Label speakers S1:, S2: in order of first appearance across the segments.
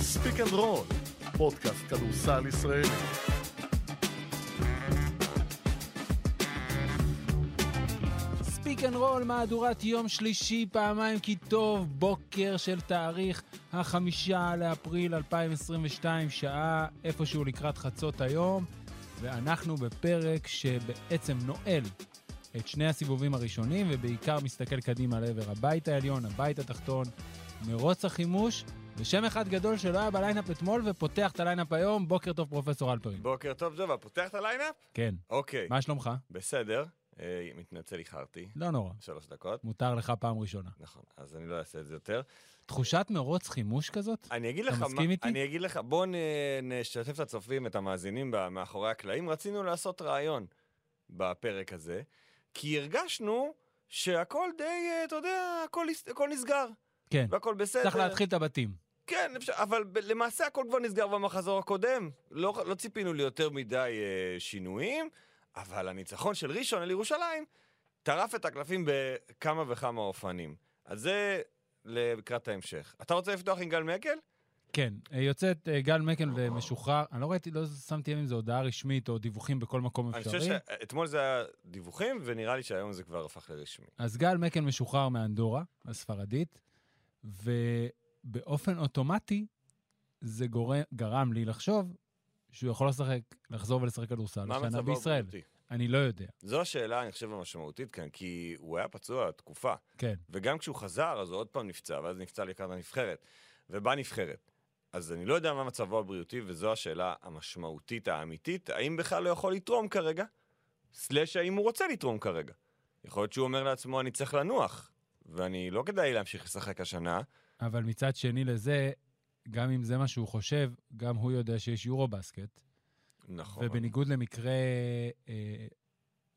S1: ספיק אנד רול, פודקאסט כדורסל ישראלי.
S2: ספיק אנד רול, מהדורת יום שלישי, פעמיים כי טוב, בוקר של תאריך החמישה לאפריל 2022, שעה איפשהו לקראת חצות היום, ואנחנו בפרק שבעצם נועל את שני הסיבובים הראשונים, ובעיקר מסתכל קדימה לעבר הבית העליון, הבית התחתון, מרוץ החימוש, ושם אחד גדול שלא היה בליינאפ אתמול ופותח את הליינאפ היום, בוקר טוב פרופסור אלפרין.
S3: בוקר טוב, ג'ובה, פותח את הליינאפ?
S2: כן,
S3: אוקיי,
S2: מה שלומך?
S3: בסדר. אה, מתנצל, איחרתי.
S2: לא נורא,
S3: שלוש דקות.
S2: מותר לך פעם ראשונה.
S3: נכון, אז אני לא אעשה את זה יותר.
S2: תחושת מרוץ חימוש כזאת?
S3: אני אגיד
S2: אתה
S3: לך, מה-
S2: מסכים איתי?
S3: אני אגיד לך, בוא נ- נשתף את הצופים, את המאזינים ב- מאחורי הקלעים. רצינו לעשות רעיון בפרק הזה, כי הרגשנו שהכל די, אה, אתה יודע, הכל הס- הכל נסגר,
S2: כן.
S3: והכל בסדר.
S2: צריך להתחיל את הבתים.
S3: כן, אפשר, אבל ב- למעשה הכל כבר נסגר במחזור הקודם. לא, לא ציפינו ליותר מדי אה, שינויים, אבל הניצחון של ראשון על ירושלים טרף את הקלפים בכמה וכמה אופנים. אז זה לקראת ההמשך. אתה רוצה לפתוח עם גל מקל?
S2: כן, אה, יוצאת אה, גל מקל ומשוחרר, אני לא ראיתי, לא שמתי לב אם זו הודעה רשמית או דיווחים בכל מקום
S3: אני חושב
S2: אפשרי.
S3: שאתמול זה היה דיווחים, ונראה לי שהיום זה כבר הפך לרשמי.
S2: אז גל מקל משוחרר מאנדורה, הספרדית, ובאופן אוטומטי זה גורם- גרם לי לחשוב שהוא יכול לשחק, לחזור ולשחק כדורסל
S3: מה
S2: השנה
S3: מצבו
S2: בישראל.
S3: הבריאותי?
S2: אני לא יודע,
S3: זו השאלה, אני חושב, המשמעותית כאן, כי הוא היה פצוע תקופה.
S2: כן.
S3: וגם כשהוא חזר, אז הוא עוד פעם נפצע, ואז נפצע לקראת הנבחרת, ובא נבחרת. אז אני לא יודע מה מצבו הבריאותי, וזו השאלה המשמעותית האמיתית, האם בכלל לא יכול לתרום כרגע? סלאש האם הוא רוצה לתרום כרגע. יכול להיות שהוא אומר לעצמו, אני צריך לנוח, ואני, לא כדאי לי להמשיך לשחק השנה.
S2: אבל מצד שני לזה, גם אם זה מה שהוא חושב, גם הוא יודע שיש יורו בסקט,
S3: נכון.
S2: ובניגוד למקרה אה,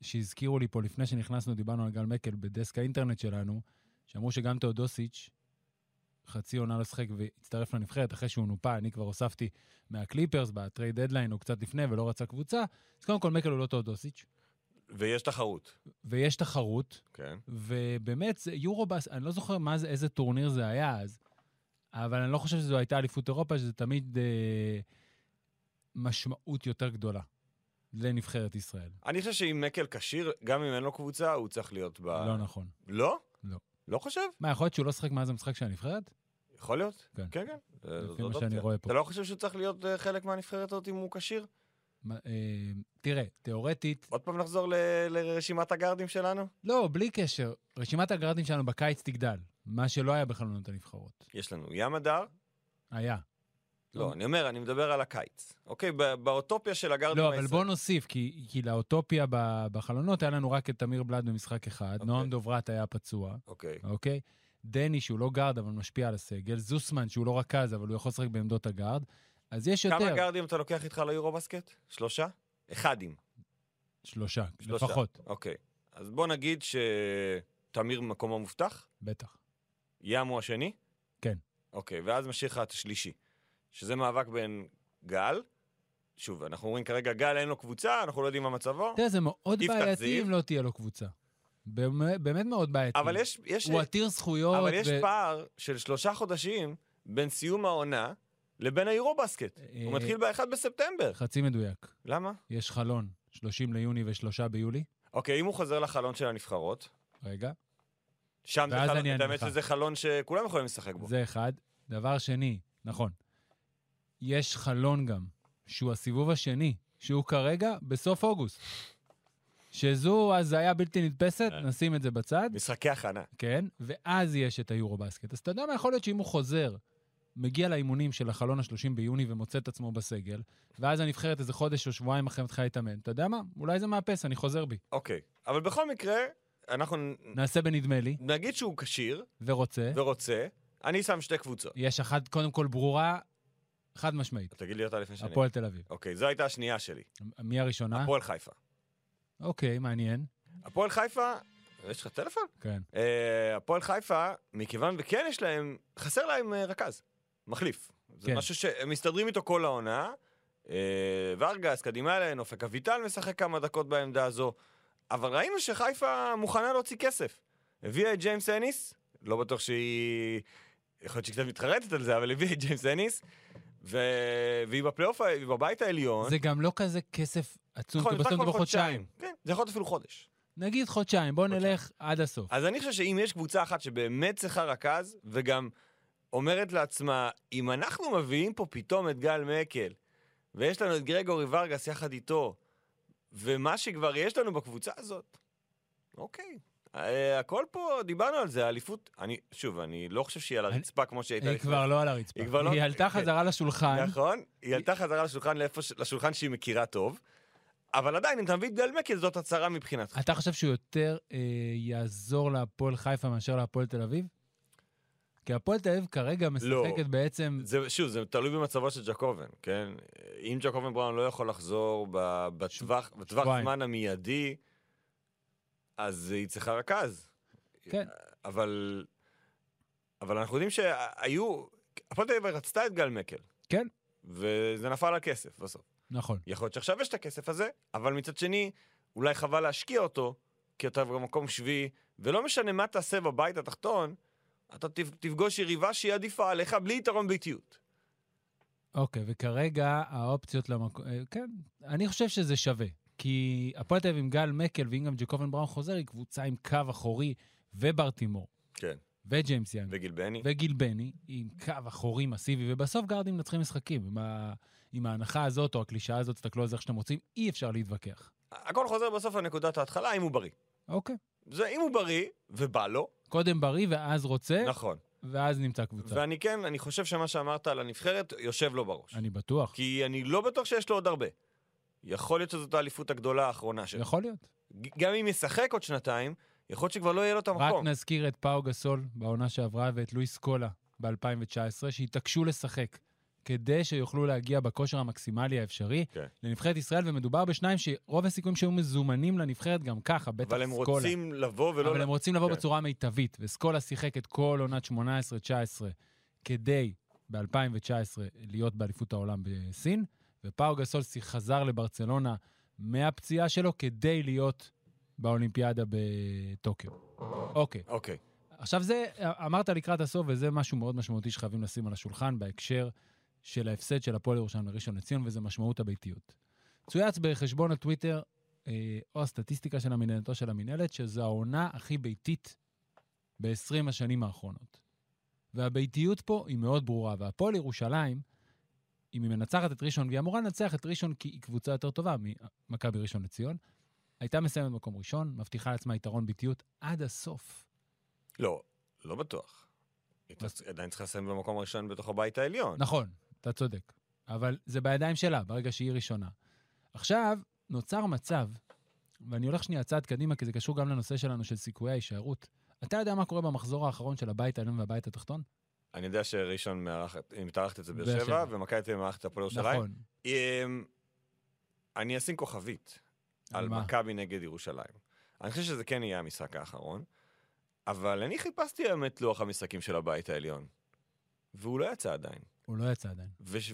S2: שהזכירו לי פה לפני שנכנסנו, דיברנו על גל מקל בדסק האינטרנט שלנו, שאמרו שגם תאודוסיץ' חצי עונה לא לשחק והצטרף לנבחרת אחרי שהוא נופה, אני כבר הוספתי מהקליפרס בטרייד דדליין או קצת לפני ולא רצה קבוצה, אז קודם כל מקל הוא לא תאודוסיץ',
S3: ויש תחרות,
S2: ויש תחרות,
S3: כן.
S2: ובאמת, זה יורובאס, אני לא זוכר מה זה, איזה טורניר זה היה אז, אבל אני לא חושב שזו הייתה אליפות אירופה, שזה תמיד אה, משמעות יותר גדולה לנבחרת ישראל.
S3: אני חושב שאם מקל כשיר, גם אם אין לו קבוצה, הוא צריך להיות ב...
S2: לא נכון.
S3: לא?
S2: לא.
S3: לא חושב?
S2: מה, יכול להיות שהוא לא שחק מאז המשחק של הנבחרת?
S3: יכול להיות.
S2: כן.
S3: כן, כן. זה-
S2: לפי
S3: זאת
S2: מה שאני
S3: אופציה.
S2: רואה פה.
S3: אתה לא חושב שהוא צריך להיות אה, חלק מהנבחרת הזאת אם הוא כשיר?
S2: מה, אה, תראה, תיאורטית,
S3: עוד פעם נחזור ל- לרשימת הגארדים שלנו?
S2: לא, בלי קשר, רשימת הגרדים שלנו בקיץ תגדל, מה שלא היה בחלונות הנבחרות.
S3: יש לנו ים הדר.
S2: היה.
S3: לא, אני אומר, אני מדבר על הקיץ. אוקיי, ב- באוטופיה של הגארדים
S2: לא, אבל
S3: הישראלים.
S2: בוא נוסיף, כי, כי לאוטופיה ב- בחלונות היה לנו רק את תמיר בלאט במשחק אחד,
S3: אוקיי.
S2: נועם דוברת היה פצוע,
S3: אוקיי.
S2: אוקיי? דני, שהוא לא גארד, אבל משפיע על הסגל, זוסמן, שהוא לא רכז, אבל הוא יכול לשחק בעמדות הגארד, אז יש יותר.
S3: כמה גארדים אתה לוקח איתך ליורובסקט? שלושה? אחדים.
S2: שלושה,
S3: שלושה.
S2: לפחות,
S3: אוקיי. אז בוא נגיד שתמיר מקום המובטח,
S2: בטח.
S3: ים הוא השני?
S2: כן.
S3: אוקיי, ואז משאיר לך את השלישי. שזה מאבק בין גל, שוב, אנחנו אומרים כרגע גל אין לו קבוצה, אנחנו לא יודעים מה מצבו,
S2: תראה, זה מאוד
S3: יפתח
S2: בעייתי
S3: זיו.
S2: אם לא תהיה לו קבוצה. באמת באמת מאוד בעייתי.
S3: אבל יש... יש
S2: הוא עתיר זכויות.
S3: אבל יש
S2: ו-
S3: פער של שלושה חודשים בין סיום העונה לבין האירובסקט. הוא
S2: אה,
S3: מתחיל ב-1 בספטמבר.
S2: חצי מדויק.
S3: למה?
S2: יש חלון, 30 ליוני ושלושה ביולי.
S3: אוקיי, אם הוא חוזר לחלון של הנבחרות,
S2: רגע,
S3: שם זה
S2: ואז
S3: חלון,
S2: אני
S3: את
S2: אענה
S3: האמת
S2: לך.
S3: שזה חלון שכולם יכולים לשחק בו.
S2: זה אחד. דבר שני, נכון, יש חלון גם, שהוא הסיבוב השני, שהוא כרגע בסוף אוגוסט. שזו הזיה בלתי נתפסת,
S3: אה.
S2: נשים את זה בצד,
S3: משחקי הכנה.
S2: כן, ואז יש את היורו-בסקט. אז אתה יודע מה, יכול להיות שאם הוא חוזר, מגיע לאימונים של החלון ה-30 ביוני ומוצא את עצמו בסגל, ואז הנבחרת איזה חודש או שבועיים אחרי מתחילה להתאמן, אתה יודע מה, אולי זה מאפס, אני חוזר בי.
S3: אוקיי, אבל בכל מקרה, אנחנו נ-
S2: נעשה בנדמה לי,
S3: נגיד שהוא כשיר
S2: ורוצה.
S3: לא. ורוצה, אני שם שתי קבוצות.
S2: יש אחת, קודם כל, ברורה, חד משמעית,
S3: תגיד לי אותה לפני שאני...
S2: הפועל אה? תל אביב.
S3: אוקיי, זו הייתה השנייה שלי.
S2: מי הראשונה?
S3: הפועל חיפה.
S2: אוקיי, מעניין.
S3: הפועל חיפה, יש לך טלפון?
S2: כן.
S3: אה, הפועל חיפה, מכיוון וכן יש להם, חסר להם אה, רכז, מחליף. זה
S2: כן.
S3: משהו שהם מסתדרים איתו כל העונה. אה, ורגס, קדימה אליהן, אופק אביטל משחק כמה דקות בעמדה הזו. אבל ראינו שחיפה מוכנה להוציא כסף. הביאה את ג'יימס אניס, לא בטוח שהיא... יכול להיות שהיא קצת מתחרטת על זה, אבל הביאה את ג'יימס אניס. ו... והיא בפלייאוף, ה- היא בבית העליון.
S2: זה גם לא כזה כסף עצום,
S3: נכון,
S2: כי
S3: זה בסך
S2: בסוף זה
S3: הכל
S2: בחודשיים.
S3: כן, זה יכול להיות אפילו חודש.
S2: נגיד חודשיים, בוא
S3: חודשיים. אה,
S2: נלך עד הסוף.
S3: אז אני חושב שאם יש קבוצה אחת שבאמת צריכה רכז, וגם אומרת לעצמה, אם אנחנו מביאים פה פתאום את גל מקל, ויש לנו את גרגורי ורגס יחד איתו, ומה שכבר יש לנו בקבוצה הזאת, אוקיי. אה, הכל פה, דיברנו על זה, האליפות, אני, שוב, אני לא חושב שהיא על
S2: אני-
S3: הרצפה כמו שהייתה
S2: היא
S3: לפני
S2: כבר לא על הרצפה.
S3: היא כבר לא-
S2: היא עלתה חזרה לשולחן.
S3: נכון, היא עלתה חזרה לשולחן, לאיפה ש- לשולחן שהיא מכירה טוב, אבל עדיין, אם אתה מביא את גל מקל, זאת הצהרה מבחינתך.
S2: אתה חושב שהוא יותר אה, יעזור להפועל חיפה מאשר להפועל תל אביב? כי הפועל תל אביב כרגע
S3: לא.
S2: משחקת בעצם...
S3: זה, שוב, זה תלוי במצבו של ג'קובן, כן? אם ג'קובן בראון לא יכול לחזור ב- בטווח, בטווח
S2: שבועיים.
S3: זמן המיידי, אז היא צריכה רכז.
S2: כן.
S3: אבל, אבל אנחנו יודעים שהיו, הפועל תל אביב רצתה את גל מקל.
S2: כן.
S3: וזה נפל על כסף בסוף.
S2: נכון.
S3: יכול להיות שעכשיו יש את הכסף הזה, אבל מצד שני, אולי חבל להשקיע אותו, כי אתה במקום שביעי, ולא משנה מה תעשה בבית התחתון, אתה תפ- תפגוש יריבה שהיא עדיפה עליך בלי יתרון ביתיות.
S2: אוקיי, וכרגע האופציות למקום... אה, כן, אני חושב שזה שווה. כי הפועל תל אביב עם גל מקל ואם גם ג'קובן בראון חוזר, היא קבוצה עם קו אחורי וברטימור.
S3: כן.
S2: וג'יימס יאנג.
S3: וגיל בני?
S2: וגיל בני, עם קו אחורי מסיבי, ובסוף גארדים מנצחים משחקים. עם, ה... עם ההנחה הזאת או הקלישאה הזאת, תסתכלו על זה איך שאתם רוצים, אי אפשר להתווכח.
S3: הכל חוזר בסוף לנקודת ההתחלה, אם הוא בריא.
S2: אוקיי.
S3: זה אם הוא בריא, ובא לו,
S2: קודם בריא ואז רוצה,
S3: נכון.
S2: ואז נמצא קבוצה.
S3: ואני כן, אני חושב שמה שאמרת על הנבחרת יושב לו בראש.
S2: אני בטוח.
S3: כי אני לא בטוח שיש לו עוד הרבה. יכול להיות שזאת האליפות הגדולה האחרונה שלו.
S2: יכול להיות.
S3: ג- גם אם ישחק עוד שנתיים, יכול להיות שכבר לא יהיה לו את
S2: רק
S3: המקום.
S2: נזכיר את פאו גסול בעונה שעברה ואת לואיס קולה ב-2019, שהתעקשו לשחק כדי שיוכלו להגיע בכושר המקסימלי האפשרי
S3: כן.
S2: לנבחרת ישראל, ומדובר בשניים שרוב הסיכויים שהיו מזומנים לנבחרת גם ככה, בטח סקולה.
S3: אבל הם רוצים לבוא ולא...
S2: אבל הם רוצים לבוא
S3: כן.
S2: בצורה מיטבית, וסקולה שיחק את כל עונת 18-19 כדי ב-2019 להיות באליפות העולם בסין, ופאו גסול שיח- חזר לברצלונה מהפציעה שלו כדי להיות באולימפיאדה בטוקיו. אוקיי,
S3: אוקיי.
S2: עכשיו זה, אמרת לקראת הסוף, וזה משהו מאוד משמעותי שחייבים לשים על השולחן בהקשר של ההפסד של הפועל ירושלים לראשון לציון, וזה משמעות הביתיות. צויץ בחשבון הטוויטר, אה, או הסטטיסטיקה של המנהלתו של המנהלת, שזו העונה הכי ביתית ב-20 השנים האחרונות. והביתיות פה היא מאוד ברורה, והפועל ירושלים, אם היא מנצחת את ראשון, והיא אמורה לנצח את ראשון כי היא קבוצה יותר טובה ממכבי ראשון לציון, הייתה מסיימת במקום ראשון, מבטיחה לעצמה יתרון ביתיות עד הסוף.
S3: לא, לא בטוח. היא
S2: אז-
S3: תצ- עדיין צריכה לסיים במקום הראשון בתוך הבית העליון.
S2: נכון, אתה צודק. אבל זה בידיים שלה, ברגע שהיא ראשונה. עכשיו, נוצר מצב, ואני הולך שנייה צעד קדימה, כי זה קשור גם לנושא שלנו של סיכויי ההישארות. אתה יודע מה קורה במחזור האחרון של הבית העליון והבית התחתון?
S3: אני יודע שראשון מארחת, היא מתארחת את זה
S2: באר
S3: באר שבע,
S2: שבע.
S3: ומכבי תל אביב מארחת את הפועל ירושלים.
S2: נכון.
S3: אמ, אני אשים כוכבית
S2: על
S3: על
S2: מה?
S3: מכבי נגד ירושלים. אני חושב שזה כן יהיה המשחק האחרון, אבל אני חיפשתי היום את לוח המשחקים של הבית העליון, והוא לא יצא עדיין.
S2: הוא לא יצא עדיין.
S3: וש-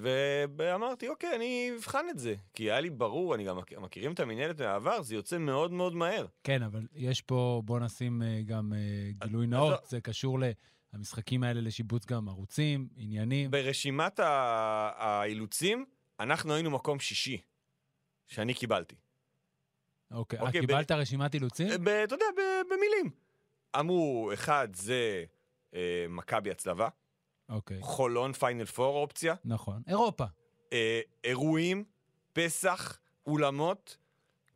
S3: ואמרתי, אוקיי, אני אבחן את זה. כי היה לי ברור, אני גם מכ- מכירים את המנהלת מהעבר, זה יוצא מאוד מאוד מהר.
S2: כן, אבל יש פה, בוא נשים אה, גם אה, גילוי
S3: אז-
S2: נאות,
S3: אז-
S2: זה קשור למשחקים האלה לשיבוץ גם ערוצים, עניינים.
S3: ברשימת ה- האילוצים, אנחנו היינו מקום שישי, שאני קיבלתי.
S2: אוקיי, אה,
S3: אוקיי, ב-
S2: קיבלת רשימת אילוצים?
S3: אה, ב- אתה יודע, ב- במילים. אמרו, אחד זה אה, מכבי הצלבה,
S2: אוקיי,
S3: חולון פיינל פור אופציה,
S2: נכון. אירופה.
S3: אה, אירועים, פסח, אולמות,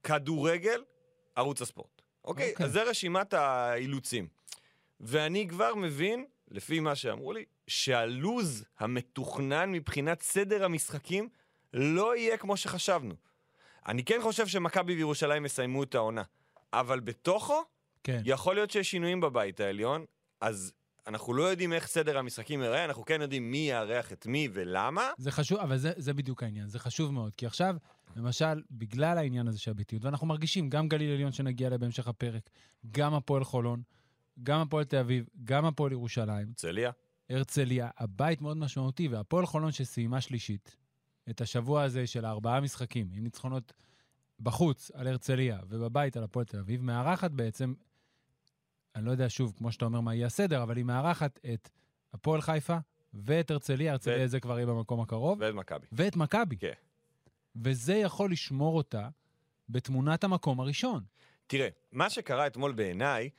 S3: כדורגל, ערוץ הספורט. אוקיי?
S2: אוקיי.
S3: אז זה רשימת האילוצים. ואני כבר מבין, לפי מה שאמרו לי, שהלוז המתוכנן מבחינת סדר המשחקים לא יהיה כמו שחשבנו. אני כן חושב שמכבי וירושלים יסיימו את העונה, אבל בתוכו
S2: כן.
S3: יכול להיות שיש שינויים בבית העליון, אז אנחנו לא יודעים איך סדר המשחקים ייראה, אנחנו כן יודעים מי יארח את מי ולמה,
S2: זה חשוב, אבל זה, זה בדיוק העניין, זה חשוב מאוד. כי עכשיו, למשל, בגלל העניין הזה של הביתיות, ואנחנו מרגישים גם גליל עליון שנגיע אליה בהמשך הפרק, גם הפועל חולון, גם הפועל תל אביב, גם הפועל ירושלים,
S3: הרצליה.
S2: הרצליה, הבית מאוד משמעותי, והפועל חולון שסיימה שלישית, את השבוע הזה של הארבעה משחקים, עם ניצחונות בחוץ על הרצליה ובבית על הפועל תל אביב, מארחת בעצם, אני לא יודע שוב, כמו שאתה אומר, מה יהיה הסדר, אבל היא מארחת את הפועל חיפה ואת הרצליה, הרצליה
S3: ואת-
S2: זה כבר יהיה במקום הקרוב,
S3: ואת מכבי.
S2: ואת מכבי.
S3: כן.
S2: וזה יכול לשמור אותה בתמונת המקום הראשון.
S3: תראה, מה שקרה אתמול בעיניי,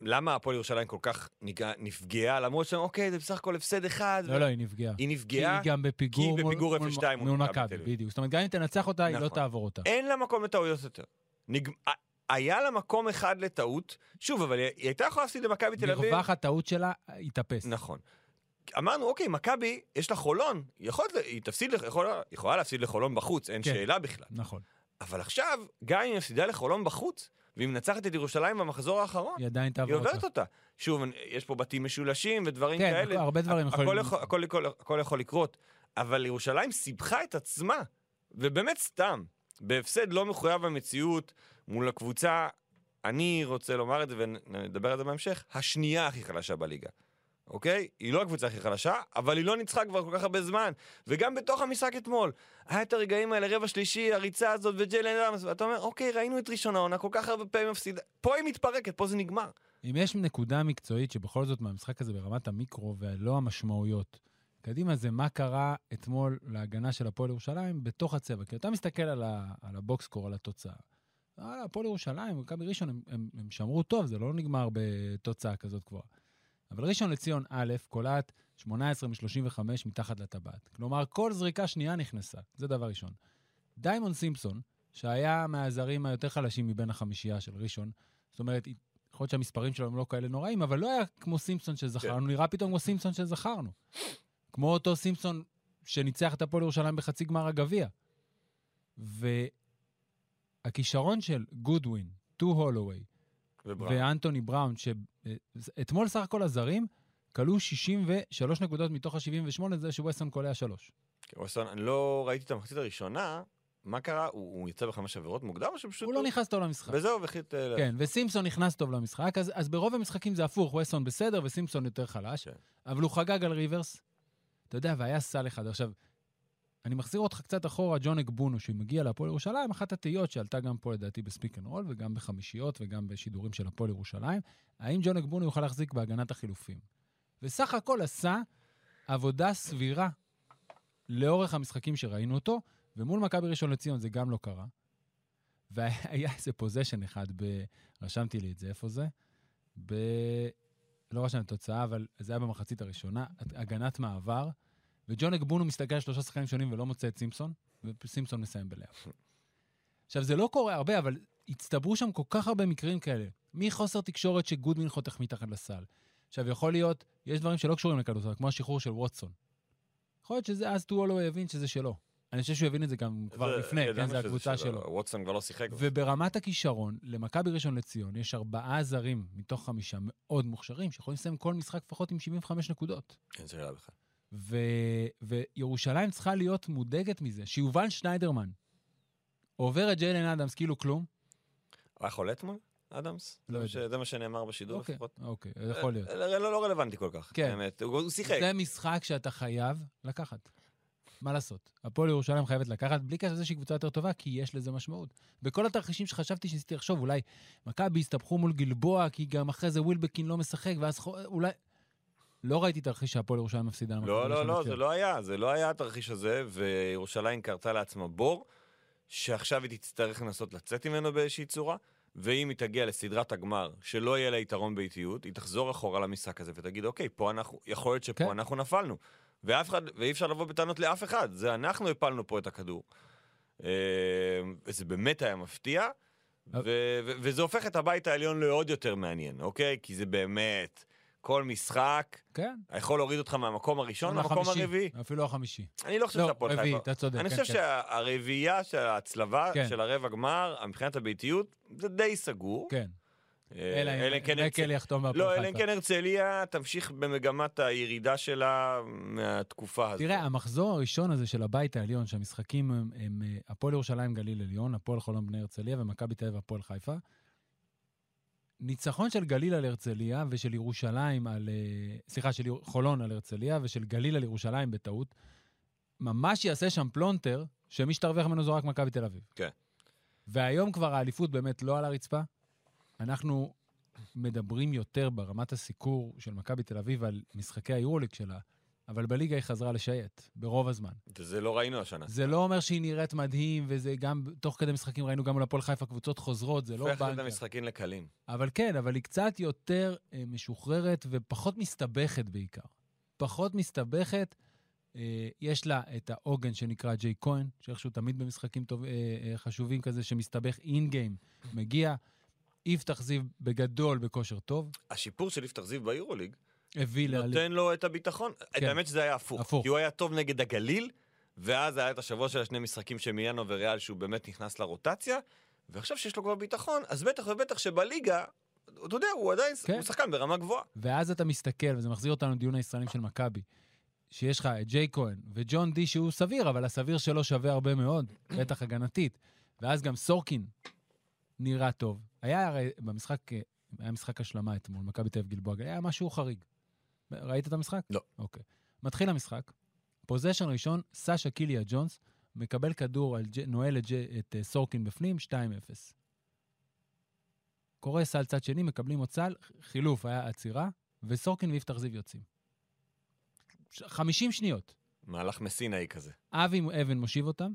S3: למה הפועל ירושלים כל כך נגע- נפגעה, למרות שהם, אוקיי, זה בסך הכל הפסד אחד.
S2: לא, לא, היא נפגעה.
S3: היא
S2: כי היא
S3: נפגעה,
S2: גם בפיגור
S3: כי היא
S2: מול-
S3: בפיגור
S2: מול-
S3: 0-2 מול
S2: מול
S3: מכבי
S2: מכבי,
S3: תל אביב.
S2: בדיוק. זאת אומרת, גם אם תנצח אותה, היא לא
S3: נכון.
S2: תעבור אותה.
S3: אין לה מקום לטעויות יותר. נג... ה- היה לה מקום אחד לטעות, שוב, אבל היא היא הייתה יכולה להפסיד למכבי תל אביב.
S2: מרווח הטעות שלה יתאפס.
S3: נכון. אמרנו, אוקיי, מכבי, יש לה חולון, יכול, היא תפסיד, לח- יכולה, יכולה להפסיד לחולון בחוץ, אין
S2: כן.
S3: כן. שאלה בכלל.
S2: נכון.
S3: אבל עכשיו, גם אם היא מפסידה לחולון בחוץ, והיא מנצחת את ירושלים במחזור האחרון,
S2: היא עדיין
S3: היא
S2: תעבור
S3: עוברת
S2: אותה.
S3: אותה. שוב, אני- יש פה בתים משולשים ודברים
S2: כן,
S3: כאלה.
S2: הרבה דברים
S3: הכל
S2: יכולים-
S3: יכול, הכל, הכל, הכל יכול לקרות, אבל ירושלים סיבכה את עצמה, ובאמת סתם, בהפסד לא מחויב המציאות מול הקבוצה, אני רוצה לומר את זה ונדבר על זה בהמשך, השנייה הכי חלשה בליגה. אוקיי? היא לא הקבוצה הכי חלשה, אבל היא לא ניצחה כבר כל כך הרבה זמן. וגם בתוך המשחק אתמול, היה את הרגעים האלה, רבע שלישי, הריצה הזאת וג'לן רמס, ואתה אומר, אוקיי, ראינו את ראשון העונה, כל כך הרבה פעמים מפסידה. פה היא מתפרקת, פה זה נגמר.
S2: אם יש נקודה מקצועית שבכל זאת מהמשחק הזה ברמת המיקרו ולא המשמעויות, קדימה זה מה קרה אתמול להגנה של הפועל ירושלים בתוך הצבע. כי אתה מסתכל על, ה, על הבוקסקור, על התוצאה. וואלה, הפועל ירושלים, מכבי ראשון, הם, הם, הם שמרו טוב, זה לא נגמר בתוצאה כזאת גבוהה. אבל ראשון לציון א', קולעת 18 מ-35 מתחת לטבעת. כלומר, כל זריקה שנייה נכנסה, זה דבר ראשון. דיימון סימפסון, שהיה מהזרים היותר חלשים מבין החמישייה של ראשון, זאת אומרת, יכול להיות שהמספרים שלו הם לא כאלה נוראים, אבל לא היה כמו סימפסון שזכרנו, נראה פתאום כמו סימפסון שזכרנו. כמו אותו סימפסון שניצח את הפועל ירושלים בחצי גמר הגביע. והכישרון של גודווין, טו הולווי
S3: ובראון.
S2: ואנטוני בראון, שאתמול סך הכל הזרים כלו 63 נקודות מתוך ה-78, זה שווסון קולע 3.
S3: אוסון, אני לא ראיתי את המחצית הראשונה, מה קרה? הוא, הוא יצא בחמש עבירות מוקדם או שפשוט...
S2: הוא לא נכנס טוב למשחק.
S3: וזהו, והחליט... אה,
S2: כן, וסימפסון נכנס טוב למשחק, אז, אז ברוב המשחקים זה הפוך, ווסון בסדר וסימפסון יותר חלש,
S3: כן.
S2: אבל הוא חגג על ריברס, אתה יודע, והיה סל אחד. עכשיו, אני מחזיר אותך קצת אחורה, ג'ון אגבונו, שמגיע להפועל ירושלים, אחת התהיות שעלתה גם פה לדעתי בספיק אנד רול, וגם בחמישיות וגם בשידורים של הפועל ירושלים, האם ג'ון אגבונו יוכל להחזיק בהגנת החילופים. וסך הכל עשה עבודה סבירה לאורך המשחקים שראינו אותו, ומול מכבי ראשון לציון זה גם לא קרה. והיה איזה פוזיישן אחד, ב... רשמתי לי את זה, איפה זה? ב... לא רשמתי תוצאה, אבל זה היה במחצית הראשונה, הגנת מעבר, וג'ון אגבונו מסתכל על שלושה שחקנים שונים ולא מוצא את סימפסון, וסימפסון מסיים בלאפ. עכשיו, זה לא קורה הרבה, אבל הצטברו שם כל כך הרבה מקרים כאלה. מחוסר תקשורת שגודמין חותך מתחת לסל. עכשיו, יכול להיות, יש דברים שלא קשורים לכדורסל, כמו השחרור של ווטסון. יכול להיות שזה, אז טוולו הבין שזה שלו. אני חושב שהוא הבין את זה גם כבר
S3: זה-
S2: לפני, כן,
S3: ידענו
S2: זה
S3: שזה
S2: הקבוצה שלו.
S3: ווטסון כבר לא שיחק.
S2: וברמת הכישרון, למכבי ראשון לציון יש ארבעה זרים מתוך חמישה מאוד מוכשרים, שיכולים לסיים כל משחק לפחות עם 75 נקודות.
S3: אין שאלה בכלל.
S2: ו... וירושלים צריכה להיות מודאגת מזה, שיובל שניידרמן עובר את ג'יילן אדמס כאילו כלום.
S3: היה חולה אתמול, אדמס?
S2: לא יודע.
S3: זה מה ש- זה מה שנאמר בשידור
S2: אוקיי,
S3: לא, לפחות.
S2: אוקיי, יכול להיות.
S3: אה, לא- לא לא רלוונטי כל כך.
S2: כן.
S3: האמת, הוא הוא שיחק.
S2: זה משחק שאתה חייב לקחת. מה לעשות? הפועל ירושלים חייבת לקחת, בלי קשר לזה שהיא קבוצה יותר טובה, כי יש לזה משמעות. בכל התרחישים שחשבתי שניסיתי לחשוב, אולי מכבי יסתבכו מול גלבוע, כי גם אחרי זה ווילבקין לא משחק, ואז חו- אולי... לא ראיתי תרחיש שהפועל ירושלים מפסידה. למכבי
S3: לא, לא,
S2: ראשון
S3: לא,
S2: לציון.
S3: זה לא היה, זה לא היה התרחיש הזה, וירושלים קרתה לעצמה בור, שעכשיו היא תצטרך לנסות לצאת ממנו באיזושהי צורה, ואם היא תגיע לסדרת הגמר, שלא יהיה לה יתרון באיטיות, היא תחזור אחורה למשחק הזה ותגיד, אוקיי, פה אנחנו, יכול להיות שפה
S2: כן.
S3: אנחנו נפלנו. ואף אחד, ואי אפשר לבוא בטענות לאף אחד, זה אנחנו הפלנו פה את הכדור. אה, זה באמת היה מפתיע, ו- ו- וזה הופך את הבית העליון לעוד יותר מעניין, אוקיי? כי זה באמת, כל משחק...
S2: כן.
S3: יכול להוריד אותך מהמקום הראשון למקום
S2: החמישי,
S3: לא, הרביעי.
S2: אפילו החמישי.
S3: אני לא חושב
S2: לא,
S3: שהפועל
S2: רביעי,
S3: חיפה...
S2: אתה צודק.
S3: אני
S2: כן,
S3: חושב
S2: כן.
S3: שהרביעייה של ההצלבה,
S2: כן.
S3: של הרבע גמר, מבחינת הביתיות, זה די סגור.
S2: כן.
S3: אה,
S2: אלא אם
S3: הרצ-
S2: מקל יחתום
S3: לא,
S2: בהפועל
S3: אלא אם
S2: חיפה.
S3: כן הרצליה תמשיך במגמת הירידה שלה מהתקופה הזאת.
S2: תראה, המחזור הראשון הזה של הבית העליון, שהמשחקים הם, הם אה, הפועל ירושלים גליל עליון, הפועל חולון בני הרצליה ומכבי תל אביב הפועל חיפה. ניצחון של גליל על הרצליה ושל ירושלים על... אה, סליחה, של יר- חולון על הרצליה ושל גליל על ירושלים בטעות, ממש יעשה שם פלונטר, שמי שתרוויח ממנו זו רק מכבי תל אביב.
S3: כן.
S2: והיום כבר האליפות באמת לא על הרצפה. אנחנו מדברים יותר ברמת הסיקור של מכבי תל אביב על משחקי היורוליג שלה, אבל בליגה היא חזרה לשייט, ברוב הזמן.
S3: וזה לא ראינו השנה.
S2: זה לא אומר שהיא נראית מדהים, וזה גם, תוך כדי משחקים ראינו גם מול הפועל חיפה קבוצות חוזרות, זה לא
S3: הופך את
S2: בנקה.
S3: המשחקים לקלים.
S2: אבל כן, אבל היא קצת יותר אה, משוחררת ופחות מסתבכת בעיקר. פחות מסתבכת. אה, יש לה את העוגן שנקרא ג'יי כהן, שאיכשהו תמיד במשחקים טוב, אה, אה, חשובים כזה, שמסתבך אין-גיים, מגיע. יפתח זיו בגדול בכושר טוב,
S3: השיפור של יפתח זיו ביורוליג
S2: הביא לאליפות.
S3: נותן לו את הביטחון. את
S2: כן.
S3: האמת שזה היה הפוך.
S2: הפוך.
S3: כי הוא היה טוב נגד הגליל, ואז היה את השבוע של השני משחקים של מיאנו וריאל, שהוא באמת נכנס לרוטציה, ועכשיו שיש לו כבר ביטחון, אז בטח ובטח שבליגה, אתה יודע, הוא עדיין,
S2: כן.
S3: הוא שחקן ברמה גבוהה.
S2: ואז אתה מסתכל, וזה מחזיר אותנו לדיון הישראלים של מכבי, שיש לך את ג'יי כהן וג'ון די שהוא סביר, אבל הסביר שלו שווה הרבה מאוד, בטח הגנתית. ואז גם סורקין נראה טוב. היה הרי במשחק, אה, היה משחק השלמה אתמול, מכבי תל אביב גלבוע, היה משהו חריג. ראית את המשחק?
S3: לא.
S2: אוקיי. מתחיל המשחק, פוזיישן ראשון, סאשה קיליה ג'ונס, מקבל כדור, על ג'- נועל את, ג'- את אה, סורקין בפנים, 2-0. קורא סל צד שני, מקבלים עוד סל, חילוף, היה עצירה, וסורקין ויפתח זיו יוצאים. ש- 50 שניות.
S3: מהלך מסינאי כזה.
S2: אבי אבן מושיב אותם,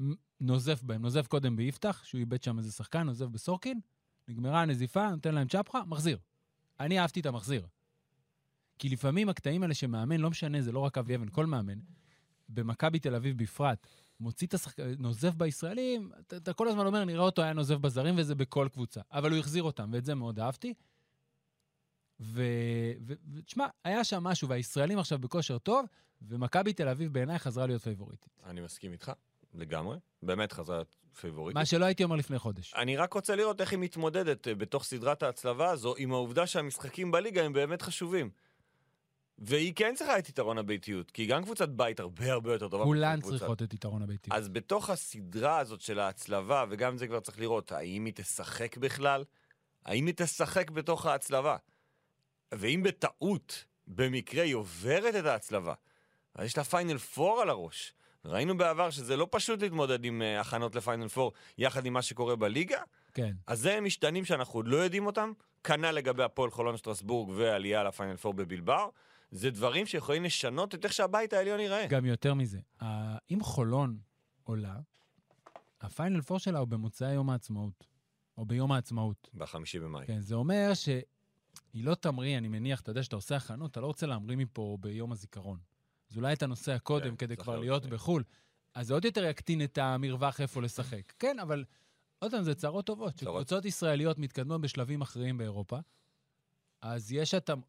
S2: מ- נוזף בהם, נוזף קודם ביפתח, שהוא איבד שם איזה שחקן, נוזף בסורקין, נגמרה הנזיפה, נותן להם צ'פחה, מחזיר. אני אהבתי את המחזיר. כי לפעמים הקטעים האלה שמאמן, לא משנה, זה לא רק אבי אבן, כל מאמן, במכבי תל אביב בפרט, מוציא את השחק... נוזף בישראלים, אתה, אתה כל הזמן אומר, נראה אותו היה נוזף בזרים, וזה בכל קבוצה. אבל הוא החזיר אותם, ואת זה מאוד אהבתי. ו... ו... ותשמע, היה שם משהו, והישראלים עכשיו בכושר טוב, ומכבי תל אביב בעיניי חזרה להיות פייבוריטית.
S3: אני מסכים איתך, לגמרי. באמת חזרה להיות פייבוריטית.
S2: מה שלא הייתי אומר לפני חודש.
S3: אני רק רוצה לראות איך היא מתמודדת אה, בתוך סדרת ההצלבה הזו עם העובדה שהמשחקים בליגה הם באמת חשובים. והיא כן צריכה את יתרון הביתיות, כי היא גם קבוצת בית הרבה הרבה יותר טובה.
S2: כולן
S3: מקבוצת קבוצה.
S2: צריכות את יתרון הביתי.
S3: אז בתוך הסדרה הזאת של ההצלבה, וגם זה כבר צריך לראות, האם היא תשחק בכלל? האם היא תשחק בתוך ההצלבה? ואם בטעות, במקרה, היא עוברת את ההצלבה, אז יש לה פיינל פור על הראש. ראינו בעבר שזה לא פשוט להתמודד עם אה, הכנות לפיינל פור יחד עם מה שקורה בליגה,
S2: כן.
S3: אז זה משתנים שאנחנו עוד לא יודעים אותם, כנ"ל לגבי הפועל חולון שטרסבורג והעלייה לפיינל פור בבלבר. זה דברים שיכולים לשנות את איך שהבית העליון ייראה.
S2: גם יותר מזה, ה- אם חולון עולה, הפיינל פור שלה הוא במוצאי יום העצמאות, או ביום העצמאות.
S3: בחמישי במאי.
S2: כן, זה אומר שהיא לא תמריא, אני מניח, אתה יודע שאתה עושה הכנות, אתה לא רוצה להמריא מפה ביום הזיכרון. אז אולי אתה נוסע קודם
S3: כן,
S2: כדי
S3: צריך
S2: כבר
S3: להיות
S2: להיות
S3: לפני.
S2: בחו"ל, אז זה עוד יותר יקטין את המרווח איפה לשחק. כן, אבל עוד פעם, זה צרות טובות.
S3: צרות.
S2: כשקבוצות ישראליות מתקדמות בשלבים אחרים באירופה, אז יש, התאמ...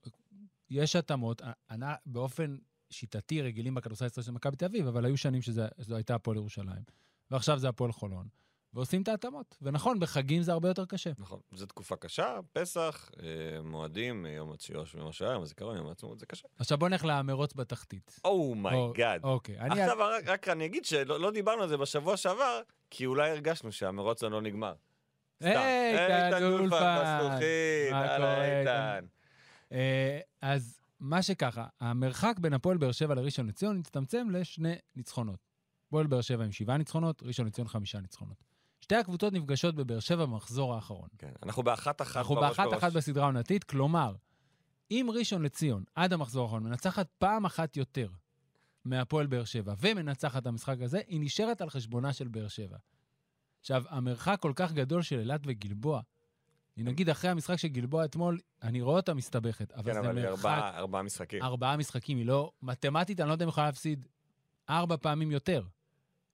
S2: יש התאמות, א- אנ- באופן שיטתי רגילים בכדורסל הישראלי של מכבי תל אביב, אבל היו שנים שזה- שזו הייתה הפועל ירושלים, ועכשיו זה הפועל חולון, ועושים את ההתאמות. ונכון, בחגים זה הרבה יותר קשה.
S3: נכון, זו תקופה קשה, פסח, אה, מועדים, אה, יום הציוש, יום השעה, יום הזיכרון, יום העצמאות, זה קשה.
S2: עכשיו בוא נלך למרוץ בתחתית.
S3: אומייגאד.
S2: אוקיי. אני...
S3: עכשיו רק- רק אני אגיד שלא לא דיברנו על זה בשבוע שעבר, כי אולי הרגשנו שהמרוץ עוד לא נגמר. סתם.
S2: היי, איתן אולפן.
S3: בזכוכית,
S2: מה
S3: הלאה
S2: קורה,
S3: איתן.
S2: אה, אז מה שככה, המרחק בין הפועל באר שבע לראשון לציון הצטמצם לשני ניצחונות. הפועל באר שבע עם שבעה ניצחונות, ראשון לציון חמישה ניצחונות. שתי הקבוצות נפגשות בבאר שבע במחזור האחרון.
S3: כן, אנחנו באחת אחת
S2: אנחנו
S3: בראש
S2: באחת
S3: בראש.
S2: אחת בסדרה העונתית, כלומר, אם ראשון לציון עד המחזור האחרון מנצחת פעם אחת יותר מהפועל באר שבע ומנצחת את המשחק הזה, היא נשארת על חשבונה של באר שבע. עכשיו, המרחק כל כך גדול של אילת וגלבוע, אני נגיד אחרי המשחק של גלבוע אתמול, אני רואה אותה מסתבכת, אבל
S3: כן,
S2: זה
S3: אבל זה
S2: מרחק
S3: ארבעה ארבעה משחקים.
S2: ארבעה משחקים, היא לא... מתמטית, אני לא יודע אם היא יכולה להפסיד ארבע פעמים יותר.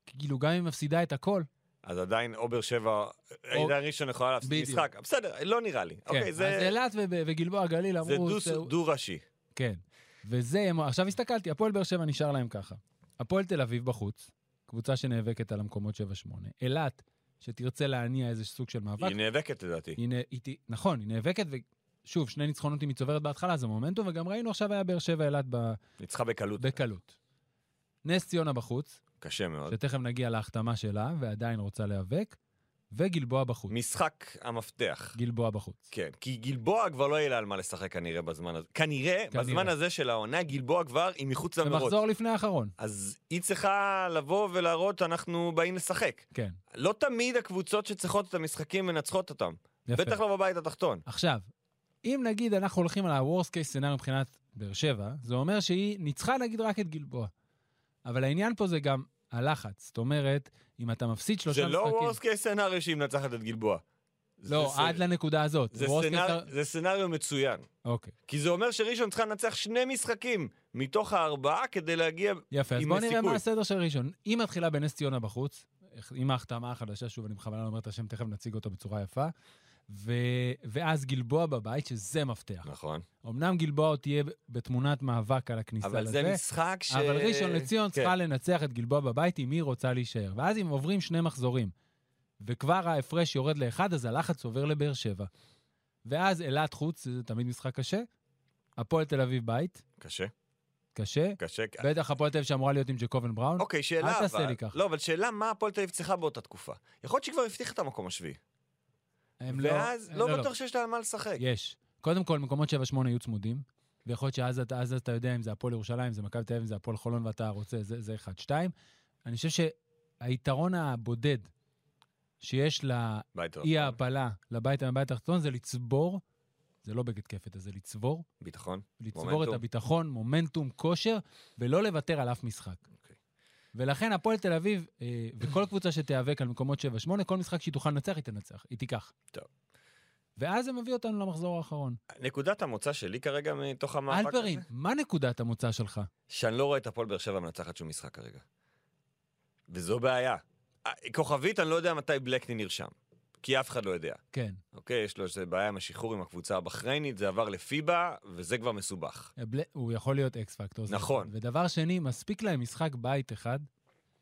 S2: כאילו, גם אם היא מפסידה את הכל,
S3: אז עדיין או באר שבע, עידן ראשון יכולה להפסיד
S2: בדיוק.
S3: משחק. בסדר, לא נראה לי.
S2: כן.
S3: אוקיי,
S2: אז
S3: זה
S2: אילת ו- וגלבוע גליל
S3: זה
S2: אמרו...
S3: דו- דו-ראשי.
S2: כן. וזה, עכשיו הסתכלתי, הפועל באר שבע נשאר להם ככה. הפועל תל אביב בחוץ, קבוצה שנאבקת על המקומות 7-8. אילת, שתרצה להניע איזה סוג של מאבק.
S3: היא נאבקת לדעתי.
S2: היא, נ... היא... ת- נכון, היא נאבקת, ושוב, שני ניצחונות היא מצוברת בהתחלה, זה מומנטום, וגם ראינו עכשיו היה באר שבע אילת ב...
S3: ניצחה בקלות.
S2: בקלות. נס ציונה בחוץ,
S3: קשה מאוד.
S2: שתכף נגיע להחתמה שלה, ועדיין רוצה להיאבק, וגלבוע בחוץ.
S3: משחק המפתח.
S2: גלבוע בחוץ.
S3: כן, כי גלבוע כבר לא יהיה לה על מה לשחק כנראה בזמן הזה. כנראה,
S2: כנראה.
S3: בזמן הזה של העונה, גלבוע כבר היא מחוץ
S2: זה
S3: למרוץ.
S2: מחזור לפני האחרון,
S3: אז היא צריכה לבוא ולהראות, אנחנו באים לשחק.
S2: כן,
S3: לא תמיד הקבוצות שצריכות את המשחקים מנצחות אותם.
S2: יפה.
S3: בטח לא בבית התחתון.
S2: עכשיו, אם נגיד אנחנו הולכים על ה-Worst case scenario מבחינת באר שבע, זה אומר שהיא ניצחה נגיד רק את גלבוע. אבל העניין פה זה גם הלחץ. זאת אומרת, אם אתה מפסיד שלושה
S3: זה
S2: משחקים...
S3: לא וורס קייס סנאריו שהיא מנצחת את גלבוע.
S2: לא,
S3: זה-
S2: עד לנקודה הזאת.
S3: זה
S2: Worst case
S3: סנאר-
S2: scenario-
S3: זה סנאריו מצוין.
S2: אוקיי,
S3: כי זה אומר שראשון צריכה לנצח שני משחקים מתוך הארבעה כדי להגיע...
S2: יפה. אז
S3: עם
S2: בואו נראה
S3: סיכוי.
S2: מה הסדר של ראשון. היא מתחילה בנס ציונה בחוץ, עם ההחתמה החדשה, שוב, אני בכוונה לא אומר את השם, תכף נציג אותו בצורה יפה. ו... ואז גלבוע בבית, שזה מפתח.
S3: נכון.
S2: אמנם גלבוע עוד תהיה בתמונת מאבק על הכניסה
S3: אבל
S2: לזה,
S3: זה משחק ש...
S2: אבל ראשון לציון
S3: כן.
S2: צריכה לנצח את גלבוע בבית אם היא רוצה להישאר. ואז אם עוברים שני מחזורים, וכבר ההפרש יורד לאחד, אז הלחץ עובר לבאר שבע. ואז אילת חוץ, זה תמיד משחק קשה. הפועל תל אביב בית,
S3: קשה,
S2: קשה.
S3: קשה.
S2: בטח הפועל תל אביב שאמורה להיות עם ג'קובן בראון.
S3: אוקיי, שאלה אבל...
S2: אל תעשה לי ככה.
S3: לא, אבל שאלה מה הפועל תל אביב צריכה באותה תקופה. יכול להיות שהיא כבר הבטיחה את המקום השביעי.
S2: הם
S3: ואז
S2: הם
S3: לא בטוח שיש לה על מה לשחק.
S2: יש. קודם כל, מקומות 7-8 יהיו צמודים, ויכול להיות שאז אתה, אז אתה יודע אם זה הפועל ירושלים, אם זה מכבי תל אביב, אם זה הפועל חולון ואתה רוצה, זה, זה אחד. שתיים, אני חושב שהיתרון הבודד שיש לאי
S3: בית טוב.
S2: ההעפלה לבית מהבית התחתון זה לצבור, זה לא בגד כפת, זה לצבור,
S3: ביטחון.
S2: לצבור את
S3: מומנטום.
S2: הביטחון, מומנטום, כושר, ולא לוותר על אף משחק.
S3: אוקיי.
S2: ולכן הפועל תל אביב, אה, וכל קבוצה שתיאבק על מקומות 7-8, כל משחק שהיא תוכל לנצח, היא תנצח, היא תיקח.
S3: טוב.
S2: ואז זה מביא אותנו למחזור האחרון.
S3: נקודת המוצא שלי כרגע מתוך המאבק הזה,
S2: אלברין, מה נקודת המוצא שלך?
S3: שאני לא רואה את הפועל באר שבע מנצחת שום משחק כרגע. וזו בעיה. אה, כוכבית, אני לא יודע מתי בלקני נרשם. כי אף אחד לא יודע.
S2: כן,
S3: אוקיי, יש לו איזה בעיה עם השחרור עם הקבוצה הבחריינית, זה עבר לפיבה, וזה כבר מסובך.
S2: בל- הוא יכול להיות אקס פקטור. זה
S3: נכון.
S2: נכון. ודבר שני, מספיק להם משחק בית אחד,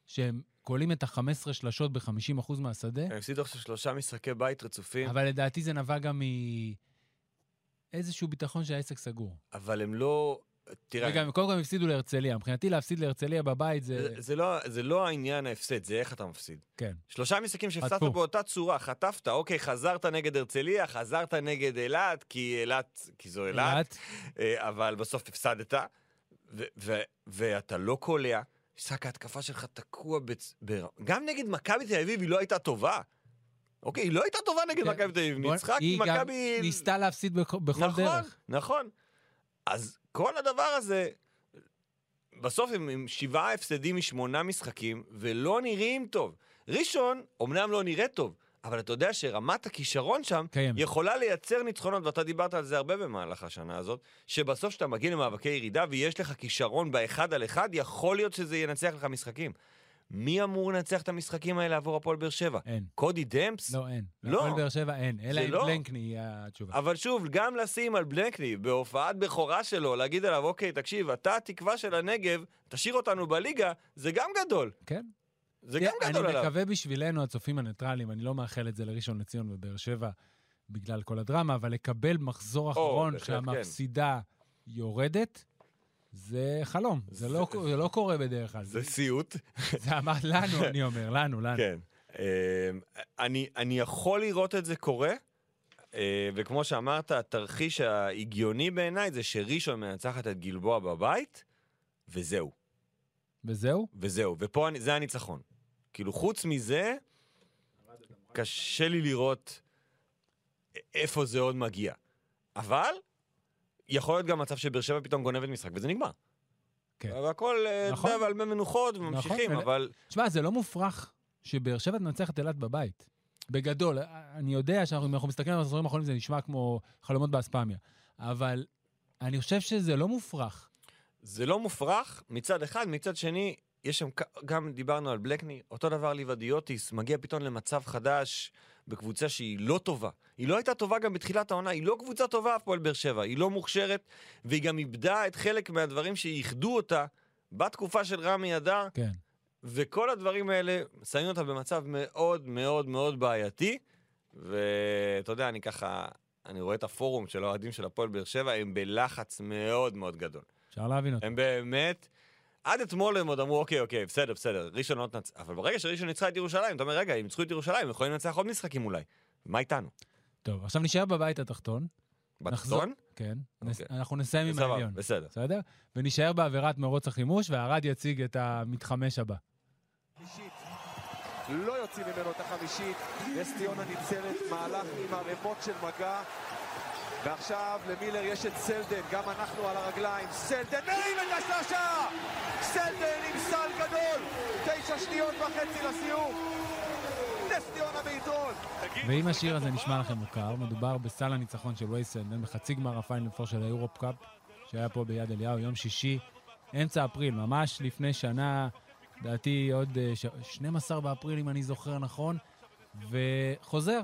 S2: שהם כולאים את ה-15 שלשות ב-50% מהשדה,
S3: הם הפסידו עכשיו שלושה משחקי בית רצופים,
S2: אבל לדעתי זה נבע גם מאיזשהו ביטחון שהעסק סגור.
S3: אבל הם לא... תראה,
S2: וגם, קודם כל הם הפסידו להרצליה. מבחינתי להפסיד להרצליה בבית זה...
S3: זה- זה לא- זה לא העניין ההפסד, זה איך אתה מפסיד.
S2: אה, כן.
S3: שלושה משחקים שהפסדת
S2: חטפו.
S3: באותה צורה, חטפת, אוקיי, חזרת נגד הרצליה, חזרת נגד אילת, כי אילת, כי זו אילת,
S2: אילת,
S3: אה, אבל בסוף הפסדת, ו- ו- ואתה לא קולע. משחק ההתקפה שלך תקוע בצ... בר... גם נגד מכבי תל אביב היא לא הייתה טובה. אוקיי, היא לא הייתה טובה נגד
S2: כן.
S3: מכבי תל אביב,
S2: בוא-
S3: ניצחה כי
S2: היא גם
S3: מכבי...
S2: ניסתה להפסיד בכ- בכל
S3: כן. נכון,
S2: דרך.
S3: נכון. אז כל הדבר הזה, בסוף הם עם שבעה הפסדים משמונה משחקים, ולא נראים טוב. ראשון, אמנם לא נראה טוב, אבל אתה יודע שרמת הכישרון שם
S2: קיימת.
S3: יכולה לייצר ניצחונות, ואתה דיברת על זה הרבה במהלך השנה הזאת, שבסוף כשאתה מגיע למאבקי ירידה ויש לך כישרון באחד על אחד, יכול להיות שזה ינצח לך משחקים. מי אמור לנצח את המשחקים האלה עבור הפועל באר שבע?
S2: אין.
S3: קודי דמפס?
S2: לא, אין.
S3: לא.
S2: להפועל באר שבע אין. אלא
S3: זה
S2: אם
S3: לא. אה,
S2: בלנקני היא התשובה.
S3: אבל שוב, גם לשים על בלנקלי בהופעת בכורה שלו, להגיד עליו, אוקיי, תקשיב, אתה התקווה של הנגב, תשאיר אותנו בליגה, זה גם גדול.
S2: כן.
S3: זה
S2: תראה,
S3: גם גדול
S2: אני
S3: עליו.
S2: מקווה בשבילנו, הצופים הניטרלים, אני לא מאחל את זה לראשון לציון ובאר שבע בגלל כל הדרמה, אבל לקבל מחזור אחרון
S3: בהחלט, כן.
S2: כשהמפסידה יורדת, זה חלום. זה
S3: זה-
S2: לא- זה לא קורה בדרך כלל.
S3: זה סיוט.
S2: זה אמרת לנו, אני אומר, לנו, לנו.
S3: כן. אמ, אני, אני יכול לראות את זה קורה, אה, וכמו שאמרת, התרחיש ההגיוני בעיניי זה שראשון מנצחת את גלבוע בבית, וזהו,
S2: וזהו?
S3: וזהו, ופה אני, זה הניצחון. כאילו, חוץ מזה, קשה לי לראות א- איפה זה עוד מגיע. אבל, יכול להיות גם מצב שבאר שבע פתאום גונבת משחק, וזה נגמר.
S2: כן.
S3: והכל, אה, אתה
S2: נכון.
S3: יודע, ועל מי מנוחות, וממשיכים,
S2: ול-
S3: אבל...
S2: תשמע, זה לא מופרך שבאר שבע תנצח את אילת בבית. בגדול, אני יודע שאם אנחנו מסתכלים על המחזורים האחרונים זה נשמע כמו חלומות באספמיה, אבל אני חושב שזה לא מופרך.
S3: זה לא מופרך מצד אחד, מצד שני, יש שם, כ- גם דיברנו על בלקני, אותו דבר ליבדיוטיס, מגיע פתאום למצב חדש בקבוצה שהיא לא טובה. היא לא הייתה טובה גם בתחילת העונה, היא לא קבוצה טובה, הפועל באר שבע, היא לא מוכשרת, והיא גם איבדה את חלק מהדברים שייחדו אותה בתקופה של רמי אדר,
S2: כן.
S3: וכל הדברים האלה שמים אותה במצב מאוד מאוד מאוד בעייתי, ואתה יודע, אני ככה, אני רואה את הפורום של האוהדים של הפועל באר שבע, הם בלחץ מאוד מאוד גדול.
S2: אפשר להבין אותו.
S3: הם באמת... עד אתמול הם עוד אמרו, אוקיי, אוקיי, בסדר, בסדר, ראשון לא תנצח. אבל ברגע שראשון ניצחה את ירושלים, אתה אומר, רגע, הם ניצחו את ירושלים, הם יכולים לנצח עוד משחקים אולי. מה איתנו?
S2: טוב, עכשיו נשאר בבית התחתון. נחזור-
S3: בתחתון?
S2: כן. נס-
S3: אוקיי.
S2: אנחנו נסיים עם
S3: בסדר,
S2: העליון.
S3: בסדר.
S2: בסדר? ונישאר בעבירת מרוץ החימוש, והערד יציג את המתחמש הבא.
S4: חמישית. לא יוצאים ממנו את החמישית, נס ציונה ניצרת, מהלך עם ערימות של מגע, ועכשיו למילר יש את סלדן, גם אנחנו על הרגליים. סלדן מרים את השלושה! סלדן עם סל גדול! תשע שניות וחצי לסיום! נס ציונה ביתרון!
S2: ואם השיר הזה נשמע לכם מוכר, מדובר בסל הניצחון של וייסנדן בחצי גמר הפיינל פור של האירופ קאפ, שהיה פה ביד אליהו, יום שישי, אמצע אפריל, ממש לפני שנה, לדעתי עוד אה, ש... 12 באפריל, אם אני זוכר נכון, וחוזר.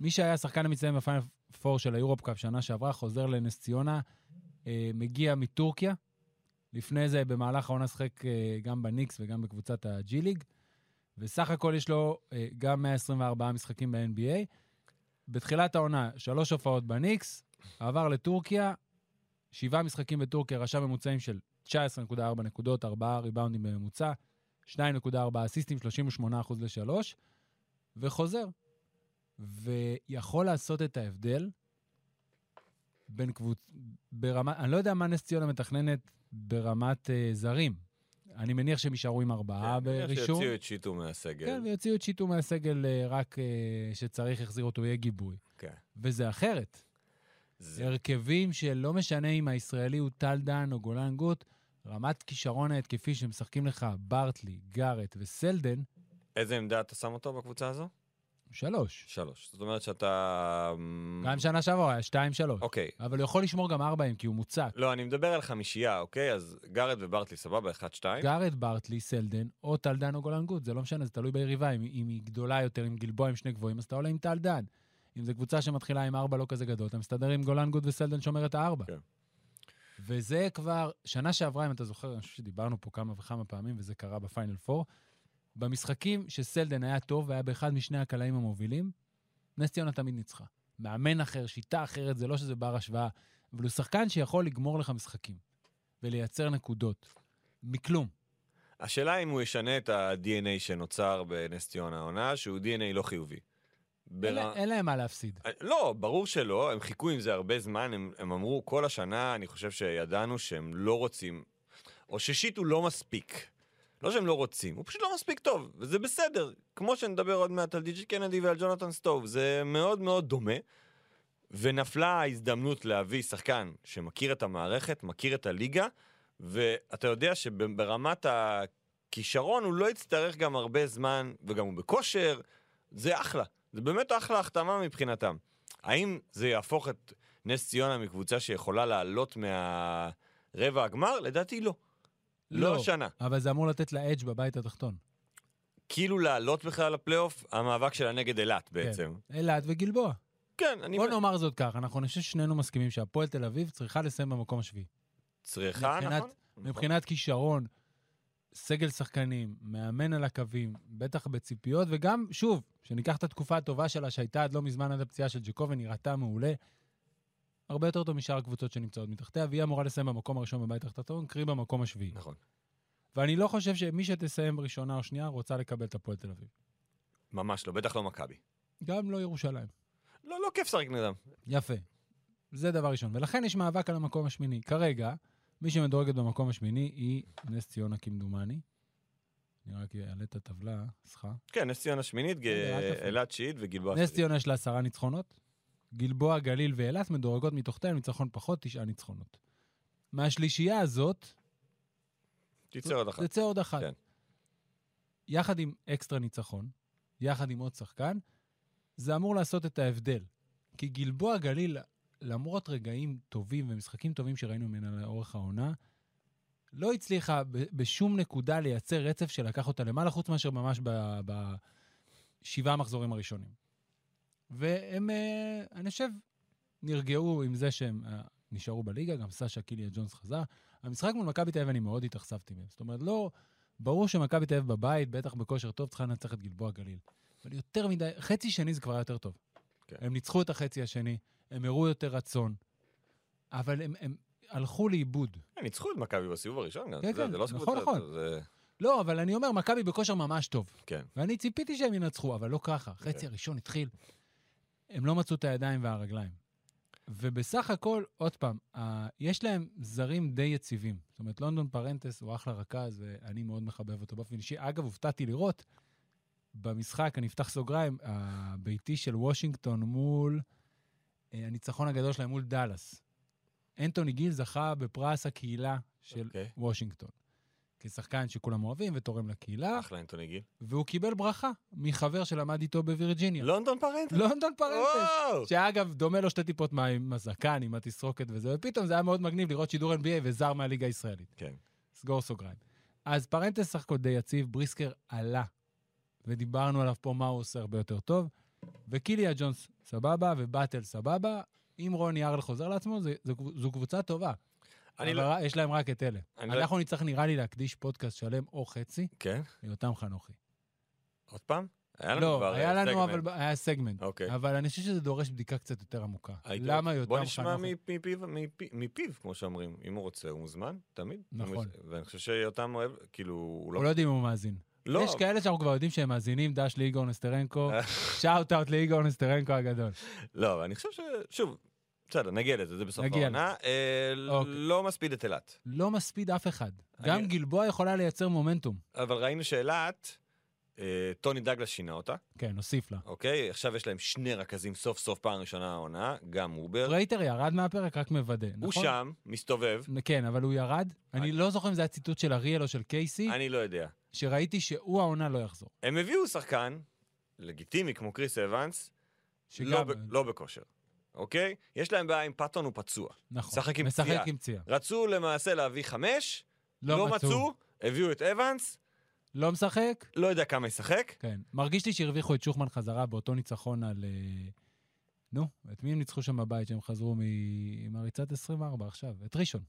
S2: מי שהיה השחקן המצטיין בפיינל פור של האירופ קאפ שנה שעברה, חוזר לנס ציונה, אה, מגיע מטורקיה. לפני זה, במהלך העונה שחק אה, גם בניקס וגם בקבוצת הג'י ליג. וסך הכל יש לו אה, גם 124 משחקים ב-NBA. בתחילת העונה, שלוש הופעות בניקס, עבר לטורקיה, שבעה משחקים בטורקיה, רשם ממוצעים של 19.4 נקודות, ארבעה ריבאונדים בממוצע, 2.4 אסיסטים, 38% ל-3, וחוזר. ויכול לעשות את ההבדל בין קבוצ... ברמה... אני לא יודע מה נס ציונה מתכננת ברמת אה, זרים. אני מניח שהם יישארו עם ארבעה ברישום.
S3: כן, שיוציאו את שיטו מהסגל.
S2: אה, כן, ויוציאו את שיטו מהסגל אה, רק אה, שצריך, יחזיר אותו, יהיה גיבוי.
S3: כן.
S2: וזה אחרת.
S3: זה-
S2: זה הרכבים שלא משנה אם הישראלי הוא טל דן או גולן גוט, רמת כישרון ההתקפי שמשחקים לך ברטלי, גארט וסלדן,
S3: איזה עמדה אתה שם אותו בקבוצה הזו?
S2: שלוש.
S3: שלוש. זאת אומרת שאתה... אמ,
S2: גם שנה שעברה היה שתיים, שלוש.
S3: אוקיי.
S2: אבל הוא יכול לשמור גם ארבעים, כי הוא מוצק.
S3: לא, אני מדבר על חמישייה, אוקיי? אז גארד וברטלי, סבבה? אחד, שתיים?
S2: גארד ברטלי, סלדן, או טל דן או גולן גוט, זה לא משנה, זה תלוי ביריבה. אם, אם היא גדולה יותר, עם גלבוע עם שני גבוהים, אז אתה עולה עם טל דן. אם זו קבוצה שמתחילה עם ארבע לא כזה גדול, אתה מסתדר עם גולן גוט וסלדן שומר את הארבע.
S3: כן.
S2: וזה כבר, שנה שעברה, אם אתה זוכר, אני חושב שדיברנו פה כמה וכמה פעמים, וזה קרה בפיינל פור, במשחקים שסלדן היה טוב והיה באחד משני הקלעים המובילים, נס ציונה תמיד ניצחה. מאמן אחר, שיטה אחרת, זה לא שזה בר השוואה, אבל הוא שחקן שיכול לגמור לך משחקים ולייצר נקודות. מכלום.
S3: השאלה אם הוא ישנה את ה-DNA שנוצר בנס ציונה העונה, שהוא DNA לא חיובי.
S2: אין
S3: בר-
S2: לה- אין להם מה להפסיד.
S3: לא, ברור שלא, הם חיכו עם זה הרבה זמן, הם, הם אמרו כל השנה, אני חושב שידענו שהם לא רוצים, או ששיט הוא לא מספיק. לא שהם לא רוצים, הוא פשוט לא מספיק טוב, וזה בסדר. כמו שנדבר עוד מעט על דיג'י קנדי ועל ג'ונתן סטוב, זה מאוד מאוד דומה. ונפלה ההזדמנות להביא שחקן שמכיר את המערכת, מכיר את הליגה, ואתה יודע שברמת הכישרון הוא לא יצטרך גם הרבה זמן, וגם הוא בכושר, זה אחלה. זה באמת אחלה החתמה מבחינתם. האם זה יהפוך את נס ציונה מקבוצה שיכולה לעלות מהרבע הגמר? לדעתי לא. לא השנה.
S2: אבל זה אמור לתת לה אדג' בבית התחתון.
S3: כאילו לעלות בכלל לפלייאוף, המאבק שלה נגד אילת בעצם.
S2: אילת וגלבוע.
S3: כן, אני
S2: כן. בוא נאמר זאת כך, אנחנו, אני חושב ששנינו מסכימים שהפועל תל אביב צריכה לסיים במקום השביעי.
S3: צריכה,
S2: מבחינת-
S3: נכון?
S2: מבחינת כישרון, סגל שחקנים, מאמן על הקווים, בטח בציפיות, וגם, שוב, שניקח את התקופה הטובה שלה שהייתה עד לא מזמן עד הפציעה של ג'קובן, נראתה מעולה. הרבה יותר טוב משאר הקבוצות שנמצאות מתחתיה, והיא אמורה לסיים במקום הראשון בבית התחתון, קרי במקום השביעי.
S3: נכון.
S2: ואני לא חושב שמי שתסיים ראשונה או שנייה רוצה לקבל את הפועל תל אביב.
S3: ממש לא, בטח לא מכבי.
S2: גם לא ירושלים.
S3: לא, לא כיף לשחק נגדם.
S2: יפה. זה דבר ראשון. ולכן יש מאבק על המקום השמיני. כרגע, מי שמדורגת במקום השמיני היא נס ציונה כמדומני. אני רק אעלה את הטבלה, סליחה.
S3: כן, נס ציונה שמינית, ג-
S2: אל תפריע.
S3: אילת שיעית וגלבוע
S2: נס
S3: עשירית.
S2: ציונה יש לה עשרה ניצחונות. גלבוע, גליל ואילת מדורגות מתחתיהם ניצחון פחות, תשעה ניצחונות. מהשלישייה הזאת,
S3: תצא עוד אחת.
S2: תצא עוד אחת.
S3: כן.
S2: יחד עם אקסטרה ניצחון, יחד עם עוד שחקן, זה אמור לעשות את ההבדל. כי גלבוע גליל, למרות רגעים טובים ומשחקים טובים שראינו ממנה לאורך העונה, לא הצליחה ב- בשום נקודה לייצר רצף שלקח אותה למעלה, חוץ מאשר ממש ב- בשבעה המחזורים הראשונים. והם, אה, אני חושב, נרגעו עם זה שהם אה, נשארו בליגה, גם סשה קיליה ג'ונס חזר. המשחק מול מכבי תל אביב, אני מאוד התאכזבתי מהם. זאת אומרת, לא... ברור שמכבי תל אביב בבית, בטח בכושר טוב, צריכה לנצח את גלבוע גליל. אבל יותר מדי, חצי שני זה כבר היה יותר טוב.
S3: כן.
S2: הם ניצחו את החצי השני, הם הראו יותר רצון, אבל הם, הם הלכו לאיבוד.
S3: כן, ניצחו את מכבי בסיבוב הראשון גם.
S2: כן,
S3: זה-
S2: כן,
S3: זה לא
S2: נכון,
S3: קבוצה,
S2: נכון.
S3: זה-
S2: לא, אבל אני אומר, מכבי בכושר ממש טוב.
S3: כן.
S2: ואני ציפיתי שהם ינצחו, אבל לא ככה. חצי הראשון התחיל. הם לא מצאו את הידיים והרגליים. ובסך הכל, עוד פעם, ה- יש להם זרים די יציבים. זאת אומרת, לונדון פרנטס הוא אחלה רכז, ואני מאוד מחבב אותו באופן אישי. אגב, הופתעתי לראות במשחק, אני אפתח סוגריים, הביתי של וושינגטון מול אה, הניצחון הגדול שלהם מול דאלאס. אנטוני גיל זכה בפרס הקהילה של
S3: אוקיי.
S2: וושינגטון. כשחקן שכולם אוהבים ותורם לקהילה,
S3: אחלה אנטוני גיל.
S2: והוא קיבל ברכה מחבר שלמד איתו בווירג'יניה.
S3: לונדון פרנטה.
S2: לונדון פרנטס.
S3: וואו!
S2: שאגב, דומה לו שתי טיפות מים עם הזקן, עם התסרוקת וזה, ופתאום זה היה מאוד מגניב לראות שידור NBA וזר מהליגה הישראלית.
S3: כן.
S2: סגור סוגריים. אז פרנטס סך הכל די יציב, בריסקר עלה, ודיברנו עליו פה מה הוא עושה הרבה יותר טוב, וקיליה ג'ונס סבבה, ובאטל סבבה. אם רוני ארל חוזר לעצמו, זה, זה, זו קבוצה טובה.
S3: אני
S2: אבל
S3: לא...
S2: לא... יש להם רק את אלה.
S3: אני לא-
S2: אנחנו נצטרך, נראה לי, להקדיש פודקאסט שלם או חצי
S3: כן?
S2: ליותם חנוכי.
S3: עוד פעם? היה לנו כבר...
S2: לא, היה
S3: אה,
S2: לנו,
S3: סגמנט.
S2: אבל היה סגמנט.
S3: אוקיי.
S2: אבל אני חושב שזה דורש בדיקה קצת יותר עמוקה.
S3: הייתי-
S2: למה יותם חנוכי...
S3: בוא נשמע מפי- מפיו- מפי- מפיו, כמו שאומרים. אם הוא רוצה, הוא מוזמן, תמיד.
S2: נכון.
S3: אם הוא- ואני חושב שיותם אוהב, כאילו, הוא לא...
S2: אנחנו לא יודעים אם הוא מאזין.
S3: לא, אה.
S2: יש כאלה שאנחנו כבר יודעים שהם מאזינים, דש לאיגור נסטרנקו, שאוט אאוט לאיגור נסטרנקו הגדול.
S3: לא, אבל אני חושב ש... שוב, בסדר, נגיע לזה, זה בסוף
S2: נגיע
S3: העונה. אה, ל-
S2: אוקיי.
S3: לא מספיד את אילת.
S2: לא מספיד אף אחד.
S3: אני-
S2: גם גלבוע יכולה לייצר מומנטום.
S3: אבל ראינו שאילת, אה, טוני דגלס שינה אותה,
S2: כן, נוסיף לה.
S3: אוקיי? עכשיו יש להם שני רכזים סוף סוף פעם ראשונה העונה, גם אובר.
S2: רייטר ירד מהפרק, רק מוודא, נכון?
S3: הוא שם, מסתובב,
S2: כן, אבל הוא ירד.
S3: אני-
S2: אני לא זוכר אם זה היה ציטוט של אריאל או של קייסי,
S3: אני לא יודע.
S2: שראיתי שהוא העונה לא יחזור.
S3: הם הביאו שחקן, לגיטימי כמו קריס אבנס, לא,
S2: שגם,
S3: ב- לא בכושר, אוקיי? יש להם בעיה עם פאטון, הוא פצוע.
S2: נכון.
S3: משחק עם פציעה.
S2: משחק עם פציעה.
S3: רצו למעשה להביא חמש, לא,
S2: לא מצאו.
S3: מצאו, הביאו את אבנס,
S2: לא משחק,
S3: לא יודע כמה ישחק.
S2: כן. מרגיש לי שהרוויחו את שוחמן חזרה באותו ניצחון על... אה, נו, את מי הם ניצחו שם בבית שהם חזרו מ- מהריצת 24 עכשיו? את ראשון.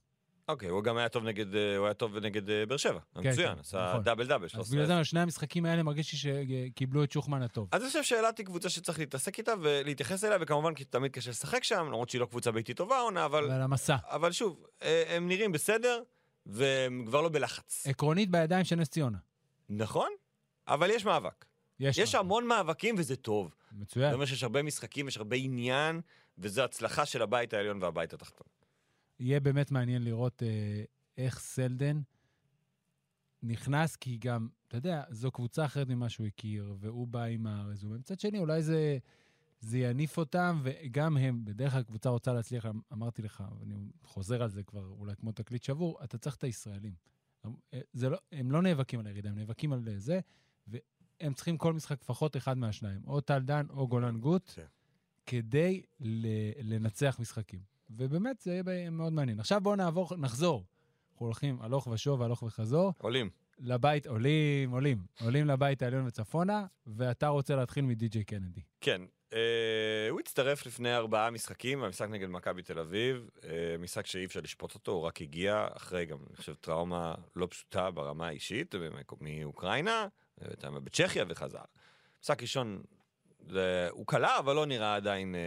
S3: אוקיי, הוא גם היה טוב נגד, אה, הוא היה טוב נגד אה, באר שבע.
S2: כן,
S3: מצוין,
S2: כן,
S3: עשה
S2: נכון.
S3: דאבל דאבל.
S2: אז
S3: 13.
S2: בגלל זה, שני המשחקים האלה מרגיש לי שקיבלו את שוחמן הטוב.
S3: אז אני חושב שאילת היא קבוצה שצריך להתעסק איתה ולהתייחס אליה, וכמובן כי תמיד קשה לשחק שם, למרות שהיא לא קבוצה ביתית טובה העונה, אבל,
S2: ועל המסע.
S3: אבל שוב, אה, הם נראים בסדר, והם כבר לא בלחץ.
S2: עקרונית בידיים של נס ציונה.
S3: נכון, אבל יש מאבק.
S2: יש
S3: יש
S2: לה.
S3: המון מאבקים וזה טוב. זה
S2: מצוין.
S3: אומר שיש הרבה משחקים, יש הרבה עניין, וזו הצלחה של הבית העליון והבית התחתון.
S2: יהיה באמת מעניין לראות אה, איך סלדן נכנס, כי גם, אתה יודע, זו קבוצה אחרת ממה שהוא הכיר, והוא בא עם הרזומה. מצד שני, אולי זה, זה יניף אותם, וגם הם, בדרך כלל הקבוצה רוצה להצליח, אמ, אמרתי לך, ואני חוזר על זה כבר אולי כמו תקליט שבור, אתה צריך את הישראלים. הם- אה, זה לא, הם לא נאבקים על הירידה, הם נאבקים על אה, זה, והם צריכים כל משחק לפחות אחד מהשניים, או טל דן או גולן גוט,
S3: כן.
S2: כדי ל- לנצח משחקים. ובאמת, זה יהיה ב- מאוד מעניין. עכשיו בואו נעבור, נחזור. אנחנו הולכים הלוך ושוב, הלוך וחזור.
S3: עולים.
S2: לבית, עולים, עולים. עולים לבית העליון וצפונה, ואתה רוצה להתחיל מדי.ג'יי קנדי.
S3: כן, אה, הוא הצטרף לפני ארבעה משחקים, המשחק נגד מכבי תל אביב, אה, משחק שאי אפשר לשפוט אותו, הוא רק הגיע אחרי גם, אני חושב, טראומה לא פשוטה ברמה האישית, במק- מאוקראינה, אה, הייתה בצ'כיה וחזר. משחק ראשון, זה, הוא קלע, אבל לא נראה עדיין אה,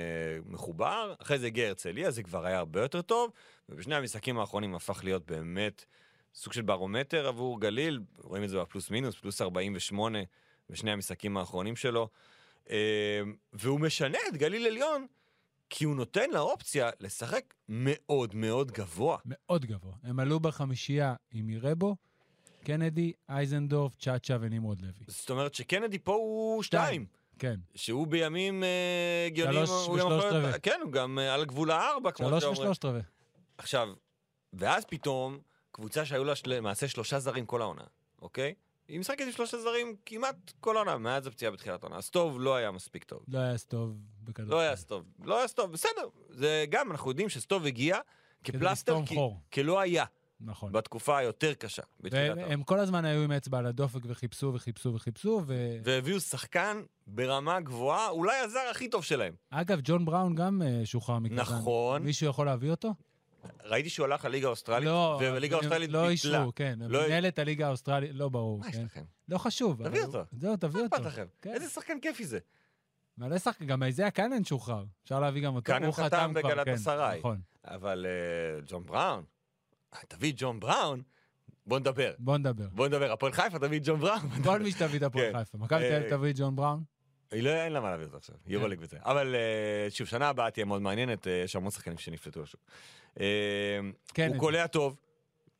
S3: מחובר. אחרי זה הגיע הרצליה, זה כבר היה הרבה יותר טוב, ובשני המשחקים האחרונים הפך להיות באמת סוג של ברומטר עבור גליל, רואים את זה בפלוס מינוס, פלוס 48 בשני המשחקים האחרונים שלו. אה, והוא משנה את גליל עליון, כי הוא נותן לאופציה לשחק מאוד מאוד גבוה.
S2: מאוד גבוה. הם עלו בחמישייה עם מירבו, קנדי, אייזנדורף, צ'אצ'ה ונמרוד לוי.
S3: זאת אומרת שקנדי פה הוא שתיים,
S2: כן,
S3: שהוא בימים אה, הגיוניים,
S2: שלוש
S3: הוא גם
S2: ושלושת
S3: יכול להיות-
S2: רבעי.
S3: כן, הוא גם אה, על גבול הארבע, כמו
S2: שלוש
S3: שאומרים.
S2: ושלושת רבעי.
S3: עכשיו, ואז פתאום, קבוצה שהיו לה של- למעשה שלושה זרים כל העונה, אוקיי? היא משחקת עם שלושה זרים כמעט כל העונה, מאז הפציעה בתחילת העונה. סטוב לא היה מספיק טוב.
S2: לא היה סטוב בכדור.
S3: לא היה סטוב. לא היה סטוב, בסדר. זה גם, אנחנו יודעים שסטוב הגיע כפלסטר,
S2: לסתום
S3: כי-
S2: חור.
S3: כלא היה.
S2: נכון.
S3: בתקופה היותר קשה, בתחילת העונה.
S2: הם כל הזמן היו עם אצבע על הדופק וחיפשו וחיפשו וחיפשו,
S3: והביאו שחקן ברמה גבוהה, אולי הזר הכי טוב שלהם.
S2: ואגב, ג'ון בראון גם אה, שוחרר מקטן.
S3: נכון.
S2: מישהו יכול להביא אותו?
S3: ראיתי שהוא הלך לליגה האוסטרלית,
S2: לא,
S3: והליגה
S2: הם-
S3: האוסטרלית
S2: לא
S3: ביטלה.
S2: אישרו, כן.
S3: לא-
S2: מנהלת הליגה האוסטרלית, לא ברור.
S3: מה יש
S2: כן.
S3: לכם?
S2: לא חשוב. אבל
S3: תביא
S2: הוא-
S3: אותו.
S2: זהו,
S3: מה
S2: תביא אותו.
S3: אכפת לכם?
S2: כן.
S3: איזה שחקן כיפי זה.
S2: מלא שחק... גם איזיה קאנן שוחרר. אפשר להביא גם אותו.
S3: קאנן
S2: הוא
S3: חתם
S2: חתם כבר,
S3: בגלת
S2: כן,
S3: אסריי.
S2: נכון.
S3: אבל אה, ג'ון בראון, אה, תביא ג'ון בראון, בוא נדבר.
S2: בוא נדבר.
S3: בוא נדבר, הפועל חיפה תביא ג'ון בראון.
S2: כל מי שתביא את הפועל
S3: כן.
S2: חיפה. מכבי תל
S3: אה,
S2: אביב תביא ג'ון בראון.
S3: היא לא, אין לה מה להביא אותו עכשיו,
S2: כן.
S3: יורוליג וזה. אבל אה, שוב, שנה הבאה תהיה מאוד מעניינת, אה, יש המון שחקנים שנפלטו לשוק. אה,
S2: כן.
S3: הוא קולע טוב,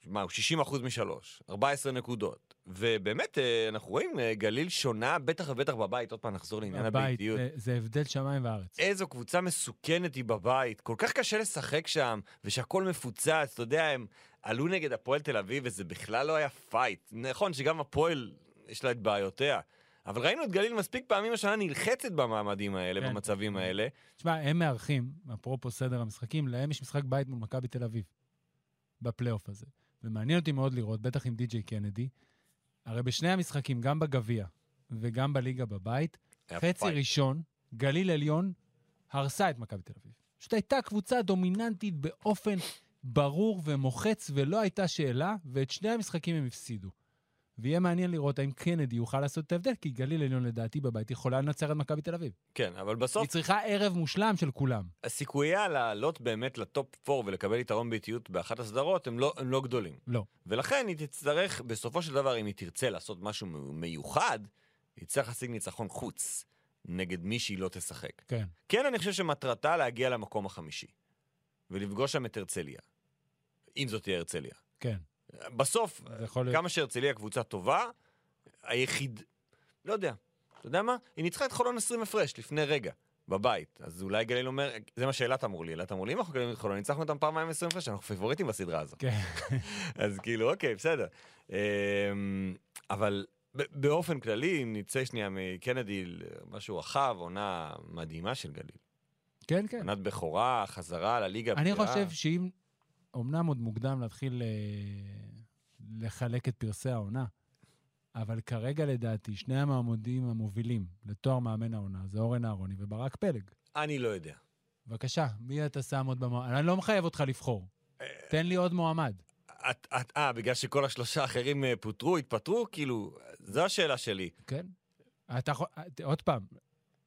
S3: מה, הוא 60% משלוש, 14 נקודות. ובאמת, אה, אנחנו רואים אה, גליל שונה, בטח ובטח בבית, עוד פעם נחזור לעניין
S2: הבית,
S3: הביתיות.
S2: אה, זה הבדל שמיים וארץ.
S3: איזו קבוצה מסוכנת היא בבית, כל כך קשה לשחק שם, ושהכול מפוצץ, אתה יודע, הם עלו נגד הפועל תל אביב, וזה בכלל לא היה פייט. נכון שגם הפועל, יש לה את בעיותיה, אבל ראינו את גליל מספיק פעמים השנה נלחצת במעמדים האלה,
S2: כן.
S3: במצבים האלה.
S2: תשמע, הם מארחים, אפרופו סדר המשחקים, להם יש משחק בית מול מכבי תל אביב, בפלייאוף הזה. ומעניין אותי מאוד לראות, בטח עם די.ג'יי קנדי, הרי בשני המשחקים, גם בגביע וגם בליגה בבית,
S3: היה
S2: חצי
S3: פייט.
S2: ראשון, גליל עליון, הרסה את מכבי תל אביב. פשוט הייתה קבוצה דומיננטית באופן ברור ומוחץ, ולא הייתה שאלה, ואת שני המשחקים הם הפסידו. ויהיה מעניין לראות האם קנדי יוכל לעשות את ההבדל, כי גליל עליון לדעתי בבית יכולה לנצח את מכבי תל אביב.
S3: כן, אבל
S2: היא
S3: בסוף
S2: צריכה ערב מושלם של כולם.
S3: הסיכוייה לעלות באמת לטופ 4 ולקבל יתרון באיטיות באחת הסדרות הם לא, הם לא גדולים.
S2: לא.
S3: ולכן היא תצטרך, בסופו של דבר, אם היא תרצה לעשות משהו מ- מיוחד, היא תצטרך להשיג ניצחון חוץ נגד מי שהיא לא תשחק.
S2: כן.
S3: כן, אני חושב שמטרתה להגיע למקום החמישי, ולפגוש שם את הרצליה. אם זאת תהיה הרצליה.
S2: כן,
S3: בסוף,
S2: זה יכול להיות.
S3: כמה שהרצליה קבוצה טובה, היחיד... לא יודע. אתה יודע מה? היא ניצחה את חולון 20 הפרש לפני רגע, בבית. אז אולי גליל אומר, זה מה שאלת אמרו לי, אילת אמרו לי, אם אנחנו גלילים את חולון, ניצחנו אותם פעמיים 20 הפרש, אנחנו פיבוריטים בסדרה הזו.
S2: כן.
S3: אז כאילו, אוקיי, בסדר. אמ, אבל ב- באופן כללי, אם נצא שנייה מקנדי למשהו רחב, עונה מדהימה של גליל.
S2: כן, כן.
S3: עונת בכורה, חזרה לליגה
S2: אני
S3: הבכירה.
S2: חושב שאם, אמנם עוד מוקדם להתחיל אה, לחלק את פרסי העונה, אבל כרגע לדעתי, שני המעמודים המובילים לתואר מאמן העונה זה אורן אהרוני וברק פלג.
S3: אני לא יודע.
S2: בבקשה, מי אתה שם עוד במועמד? אני לא מחייב אותך לבחור.
S3: אה.
S2: תן לי עוד מועמד.
S3: את, את, אה, בגלל שכל השלושה האחרים אה, פוטרו, התפטרו? כאילו, זו השאלה שלי.
S2: כן. אתה יכול... אה, עוד פעם,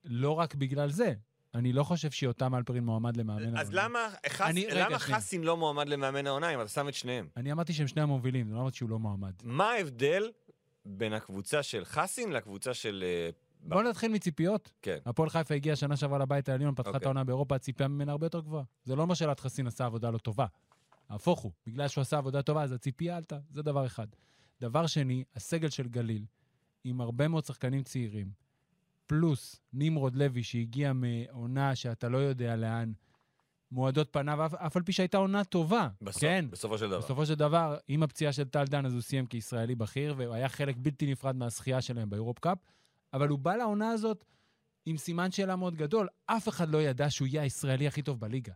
S2: לא רק בגלל זה, אני לא חושב שיותם אלפרין מועמד למאמן העונה.
S3: אז למה, חס,
S2: לא אני- רגע,
S3: למה
S2: שנייה.
S3: חסין לא מועמד למאמן העונה אם אתה שם את שניהם?
S2: אני אמרתי שהם שני המובילים, לא אמרתי שהוא לא מועמד.
S3: מה ההבדל בין הקבוצה של חסין לקבוצה של... אה,
S2: בוא נתחיל מציפיות.
S3: כן.
S2: הפועל חיפה הגיעה שנה שעברה לבית העליון, פתחה את
S3: אוקיי.
S2: העונה באירופה, הציפייה ממנה הרבה יותר גבוהה. זה לא אומר שאלעד חסין עשה עבודה לא טובה. נהפוך הוא, בגלל שהוא עשה עבודה טובה, אז הציפייה עלתה, זה דבר אחד. דבר שני, הסגל של גליל, עם הרבה מאוד שחקנים צעירים, פלוס נמרוד לוי שהגיע מעונה שאתה לא יודע לאן, מועדות פניו, אף, אף על פי שהייתה עונה טובה.
S3: בסוף,
S2: כן,
S3: בסופו של דבר.
S2: בסופו של דבר, עם הפציעה של טל דן, אז הוא סיים כישראלי בכיר, והיה חלק בלתי נפרד מהזכייה שלהם באירופ קאפ, אבל הוא בא לעונה הזאת עם סימן שאלה מאוד גדול. אף אחד לא ידע שהוא יהיה הישראלי הכי טוב בליגה.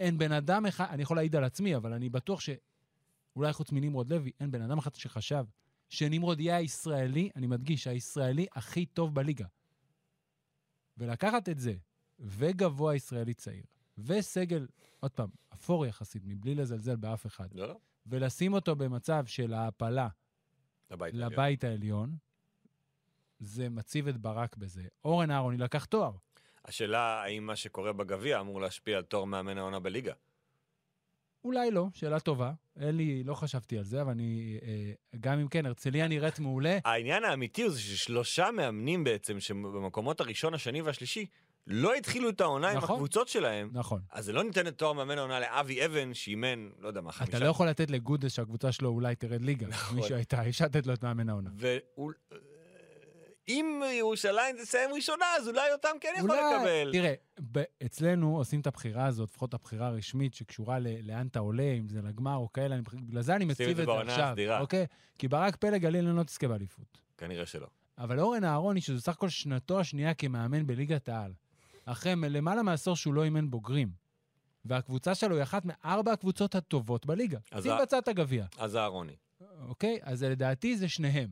S2: אין בן אדם אחד, אני יכול להעיד על עצמי, אבל אני בטוח שאולי חוץ מנמרוד לוי, אין בן אדם אחד שחשב שנמרוד יהיה הישראלי, אני מדגיש, הישראלי הכי טוב בליגה. ולקחת את זה, וגבוה ישראלי צעיר, וסגל, עוד פעם, אפור יחסית, מבלי לזלזל באף אחד,
S3: לא, לא,
S2: ולשים אותו במצב של העפלה
S3: לבית. העליון.
S2: לבית העליון, זה מציב את ברק בזה. אורן אהרוני לקח תואר.
S3: השאלה האם מה שקורה בגביע אמור להשפיע על תואר מאמן העונה בליגה.
S2: אולי לא, שאלה טובה. אין לי, לא חשבתי על זה, אבל אני... אה, גם אם כן, הרצליה נראית מעולה.
S3: העניין האמיתי הוא זה ששלושה מאמנים בעצם, שבמקומות הראשון, השני והשלישי, לא התחילו את העונה עם
S2: נכון.
S3: הקבוצות שלהם,
S2: נכון.
S3: אז זה לא ניתן את תואר מאמן העונה לאבי אבן, שאימן, לא יודע מה, חמישה.
S2: אתה לא יכול לתת לגודס שהקבוצה שלו אולי תרד ליגה.
S3: נכון.
S2: מישהו הייתה, אי אפשר לתת לו את מאמן העונה.
S3: ואם אה, ירושלים תסיים ראשונה, אז אולי אותם כן יכול לקבל.
S2: תראה, ב- אצלנו עושים את הבחירה הזאת, לפחות הבחירה הרשמית שקשורה ל- לאן אתה עולה, אם זה לגמר או כאלה, אני- בגלל זה אני
S3: שים את
S2: מציב את
S3: זה
S2: זה
S3: בעונה
S2: עכשיו,
S3: הסדירה.
S2: אוקיי? כי ברק פלג גליל לא תזכה באליפות.
S3: כנראה שלא.
S2: אבל אורן אהרוני, שזו סך הכל שנתו השנייה כמאמן בליגת העל, אחרי מ- למעלה מעשור שהוא לא אימן בוגרים, והקבוצה שלו היא אחת מארבע הקבוצות הטובות בליגה.
S3: אז
S2: שים
S3: ה-
S2: בצד את הגביע,
S3: אז אהרוני.
S2: אוקיי? אז לדעתי זה שניהם.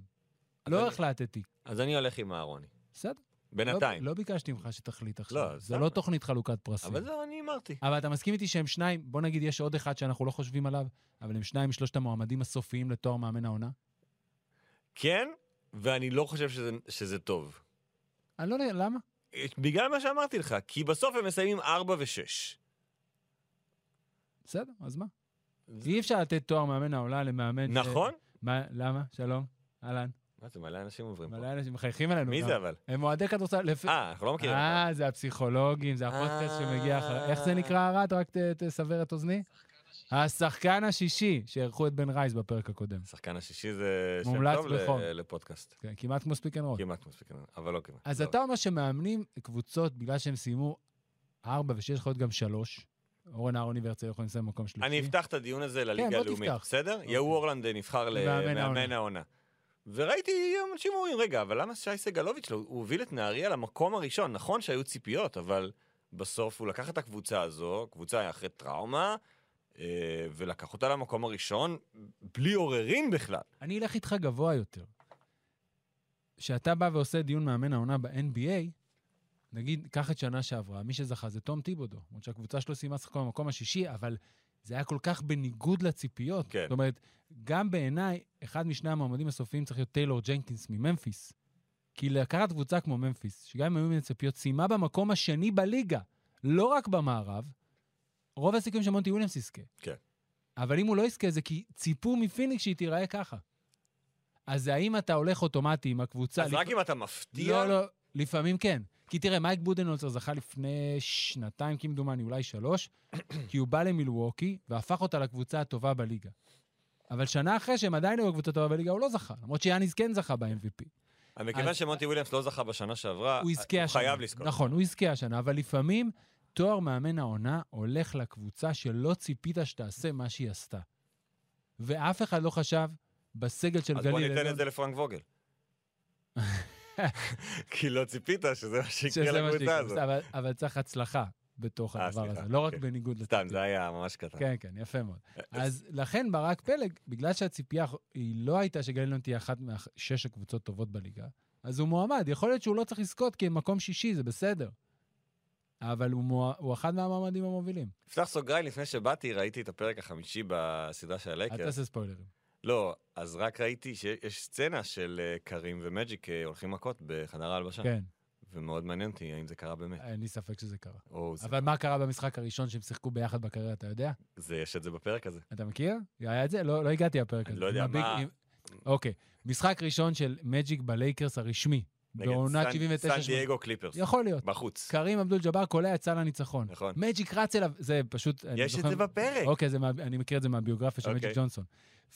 S2: לא
S3: אני-
S2: החלטתי.
S3: אז אני הולך עם אהרוני.
S2: בסדר.
S3: בינתיים.
S2: לא, לא ביקשתי ממך שתחליט עכשיו.
S3: לא,
S2: זה
S3: סתם.
S2: לא תוכנית חלוקת פרסים.
S3: אבל זה אני אמרתי.
S2: אבל אתה מסכים איתי שהם שניים, בוא נגיד יש עוד אחד שאנחנו לא חושבים עליו, אבל הם שניים משלושת המועמדים הסופיים לתואר מאמן העונה?
S3: כן, ואני לא חושב שזה, שזה טוב. אה,
S2: אני לא יודע, למה?
S3: בגלל מה שאמרתי לך, כי בסוף הם מסיימים 4 ו-6.
S2: בסדר, אז מה? אי אפשר לתת תואר מאמן העונה למאמן... ש-
S3: נכון?
S2: מה, למה? שלום, אהלן.
S3: מה זה, מלא אנשים עוברים פה.
S2: מלא אנשים מחייכים אלינו.
S3: מי
S2: גם.
S3: זה אבל?
S2: הם אוהדי כדורסל. לפ-
S3: אה, אנחנו לא מכירים. אותם.
S2: אה, זה הפסיכולוגים, זה הפודקאסט
S3: אה.
S2: שמגיע אחרי... איך זה נקרא, ערד? רק ת- תסבר את אוזני. השחקן השישי, שאירחו את בן רייס בפרק הקודם.
S3: השחקן השישי זה שם
S2: מומלץ
S3: טוב ל-
S2: בחום.
S3: לפודקאסט.
S2: כן, כמעט כמו ספיק אנד רול.
S3: כמעט מספיק, אבל לא כמעט.
S2: אז
S3: לא.
S2: אתה אומר שמאמנים קבוצות בגלל שהם סיימו ארבע ושש, יכול להיות גם שלוש. אורן אהרוני והרצל יכולים לסיים במקום שלישי.
S3: אני אפתח את הדיון הזה
S2: כן, בוא
S3: לליגה הלאומית,
S2: תפתח.
S3: בסדר?
S2: אוקיי.
S3: יהוא אורלנד אה, נבחר
S2: למאמן
S3: למאמן
S2: העונה.
S3: העונה. וראיתי אנשים אומרים, רגע, אבל למה שי סגלוביץ' לא, הוא הוביל את נהריה למקום הראשון? נכון שהיו ציפיות, אבל בסוף הוא לקח את הקבוצה הזו, קבוצה אחרי טראומה, אה, ולקח אותה למקום הראשון, בלי עוררין בכלל.
S2: אני אלך איתך גבוה יותר. כשאתה בא ועושה דיון מאמן העונה ב-NBA, נגיד, קח את שנה שעברה, מי שזכה זה תום טיבודו. למרות שהקבוצה שלו סיימה שחקה במקום השישי, אבל זה היה כל כך בניגוד לציפיות.
S3: כן.
S2: זאת אומרת, גם בעיניי, אחד משני המועמדים הסופיים צריך להיות טיילור ג'נקינס מממפיס. כי לקחת קבוצה כמו ממפיס, שגם אם היו ממנה ציפיות, סיימה במקום השני בליגה, לא רק במערב, רוב הסיכויים שמונטי וויליאמס יזכה.
S3: כן.
S2: אבל אם הוא לא יזכה, זה כי ציפו מפיניקס שהיא תיראה ככה. אז זה האם אתה הולך אוטומטי עם הקבוצה...
S3: אז
S2: לפ-
S3: רק אם אתה מפתיע,
S2: לא, לא, לפעמים כן. כי תראה, מייק בודנולצר זכה לפני שנתיים, כמדומני, אולי שלוש, כי הוא בא למילווקי והפך אותה לקבוצה הטובה בליגה. אבל שנה אחרי שהם עדיין היו הקבוצה הטובה בליגה, הוא לא זכה, למרות שיאניס כן זכה ב-MVP.
S3: אבל מכיוון
S2: אז-
S3: שמונטי וויליאמס לא זכה בשנה שעברה,
S2: הוא יזכה השנה.
S3: חייב לזכות.
S2: נכון, הוא יזכה השנה, אבל לפעמים תואר מאמן העונה הולך לקבוצה שלא ציפית שתעשה מה שהיא עשתה. ואף אחד לא חשב בסגל של
S3: אז בוא
S2: גליל
S3: ניתן
S2: עליון,
S3: את זה לפרנק ווגל. כי לא ציפית שזה מה
S2: שזה
S3: שיקרה
S2: מה
S3: לקבוצה
S2: שיקרה,
S3: הזאת.
S2: אבל- אבל צריך הצלחה בתוך
S3: אה,
S2: הדבר
S3: סליחה,
S2: הזה, לא רק
S3: אוקיי.
S2: בניגוד לציפיות.
S3: סתם, זה היה אה, ממש קטן.
S2: כן, כן, יפה מאוד. אז לכן ברק פלג, בגלל שהציפייה האח- היא לא הייתה שגלילון תהיה אחת משש הקבוצות טובות בליגה, אז הוא מועמד. יכול להיות שהוא לא צריך לזכות כי הם מקום שישי, זה בסדר. אבל הוא, מוע... הוא אחד מהמועמדים המובילים.
S3: נפתח סוגריים, לפני שבאתי ראיתי את הפרק החמישי בסדרה של
S2: אל
S3: הלייקרס.
S2: תעשה ספוילרים.
S3: לא, אז רק ראיתי שיש סצנה של אה, קרים ומג'יק אה, הולכים מכות בחדר ההלבשה.
S2: כן,
S3: ומאוד מעניין אותי האם זה קרה באמת.
S2: אין לי ספק שזה קרה.
S3: או זה-
S2: אבל מה קרה במשחק הראשון שהם שיחקו ביחד בקריירה, אתה יודע?
S3: זה, יש את זה בפרק הזה.
S2: אתה מכיר? היה את זה? לא, לא הגעתי לפרק
S3: אני
S2: הזה.
S3: לא יודע
S2: עם הביג-
S3: מה-
S2: עם- אוקיי, משחק ראשון של מג'יק בלייקרס הרשמי,
S3: נגד
S2: בעונת
S3: סן-
S2: 79
S3: סן דייגו קליפרס.
S2: יכול להיות.
S3: בחוץ.
S2: קרים אבדול ג'באר קולע יצא לניצחון.
S3: נכון.
S2: מג'יק רץ אליו, זה פשוט... אני
S3: יש את
S2: זוכר-
S3: זה בפרק.
S2: אוקיי, זה מה- אני מכיר את זה מהביוגרפיה של
S3: אוקיי.
S2: מג'יק ג'ונסון.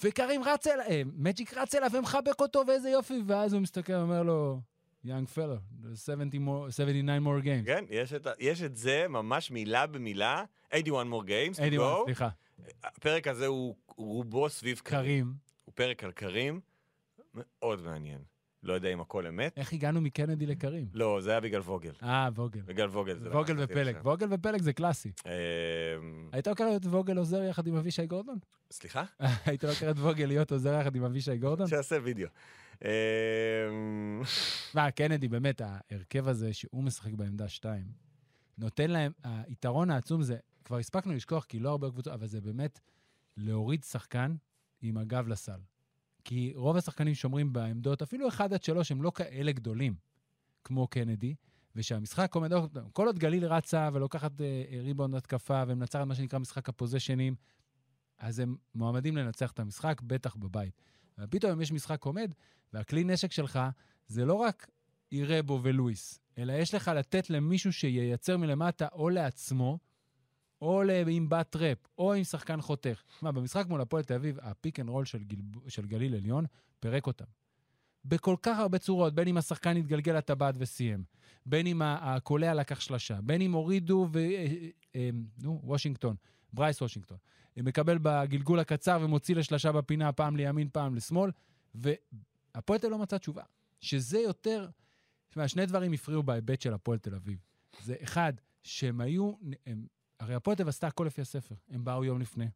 S2: וקרים רץ אליו, אה, מג'יק רץ אליו ומחבק אותו, ואיזה יופי, ואז הוא מסתכל ואומר לו, יונג פלו, 79 more games.
S3: כן, יש את ה- יש את זה ממש מילה במילה. 81 more games. to
S2: 81,
S3: go.
S2: סליחה,
S3: הפרק הזה הוא הוא רובו סביב קרים.
S2: קרים.
S3: הוא פרק על קרים. מאוד מעניין. לא יודע אם הכל אמת.
S2: איך הגענו מקנדי לקרים?
S3: לא, זה היה בגלל ווגל.
S2: אה, ווגל.
S3: בגלל ווגל. זה לא
S2: ווגל
S3: לקחתי
S2: ופלג.
S3: לשם.
S2: ווגל ופלג זה קלאסי.
S3: אמ,
S2: היית לוקח את ווגל עוזר יחד עם אבישי גורדון?
S3: סליחה?
S2: היית לוקח לא את ווגל להיות עוזר יחד עם אבישי גורדון?
S3: שיעשה וידאו. אמ,
S2: מה, קנדי, באמת, ההרכב הזה שהוא משחק בעמדה 2, נותן להם, היתרון העצום זה, כבר הספקנו לשכוח, כי לא הרבה קבוצות, אבל זה באמת להוריד שחקן עם הגב לסל. כי רוב השחקנים שומרים בעמדות, אפילו 1 עד 3, הם לא כאלה גדולים כמו קנדי, ושהמשחק עומד, כל עוד גליל רצה ולוקחת אה, ריבאונד התקפה ומנצחת מה שנקרא משחק הפוזיישנים, אז הם מועמדים לנצח את המשחק, בטח בבית. אבל פתאום אם יש משחק עומד, והכלי נשק שלך זה לא רק אירבו ולואיס, אלא יש לך לתת למישהו שייצר מלמטה או לעצמו, או ל- עם בת טראפ, או עם שחקן חותך. מה, במשחק מול הפועל תל אביב, הפיק אנד רול של, גלב... של גליל עליון פירק אותם. בכל כך הרבה צורות, בין אם השחקן התגלגל לטבעת וסיים, בין אם ה- הקולע לקח שלשה, בין אם הורידו ו... אה, אה, נו, וושינגטון, ברייס וושינגטון. מקבל בגלגול הקצר ומוציא לשלשה בפינה, פעם לימין, פעם לשמאל, והפועל תל אביב לא מצא תשובה. שזה יותר... תשמע, שני דברים הפריעו בהיבט של הפועל תל אביב. זה אחד, שהם היו... הם, הרי הפועל תל אביב עשתה הכל לפי הספר. הם באו יום לפני,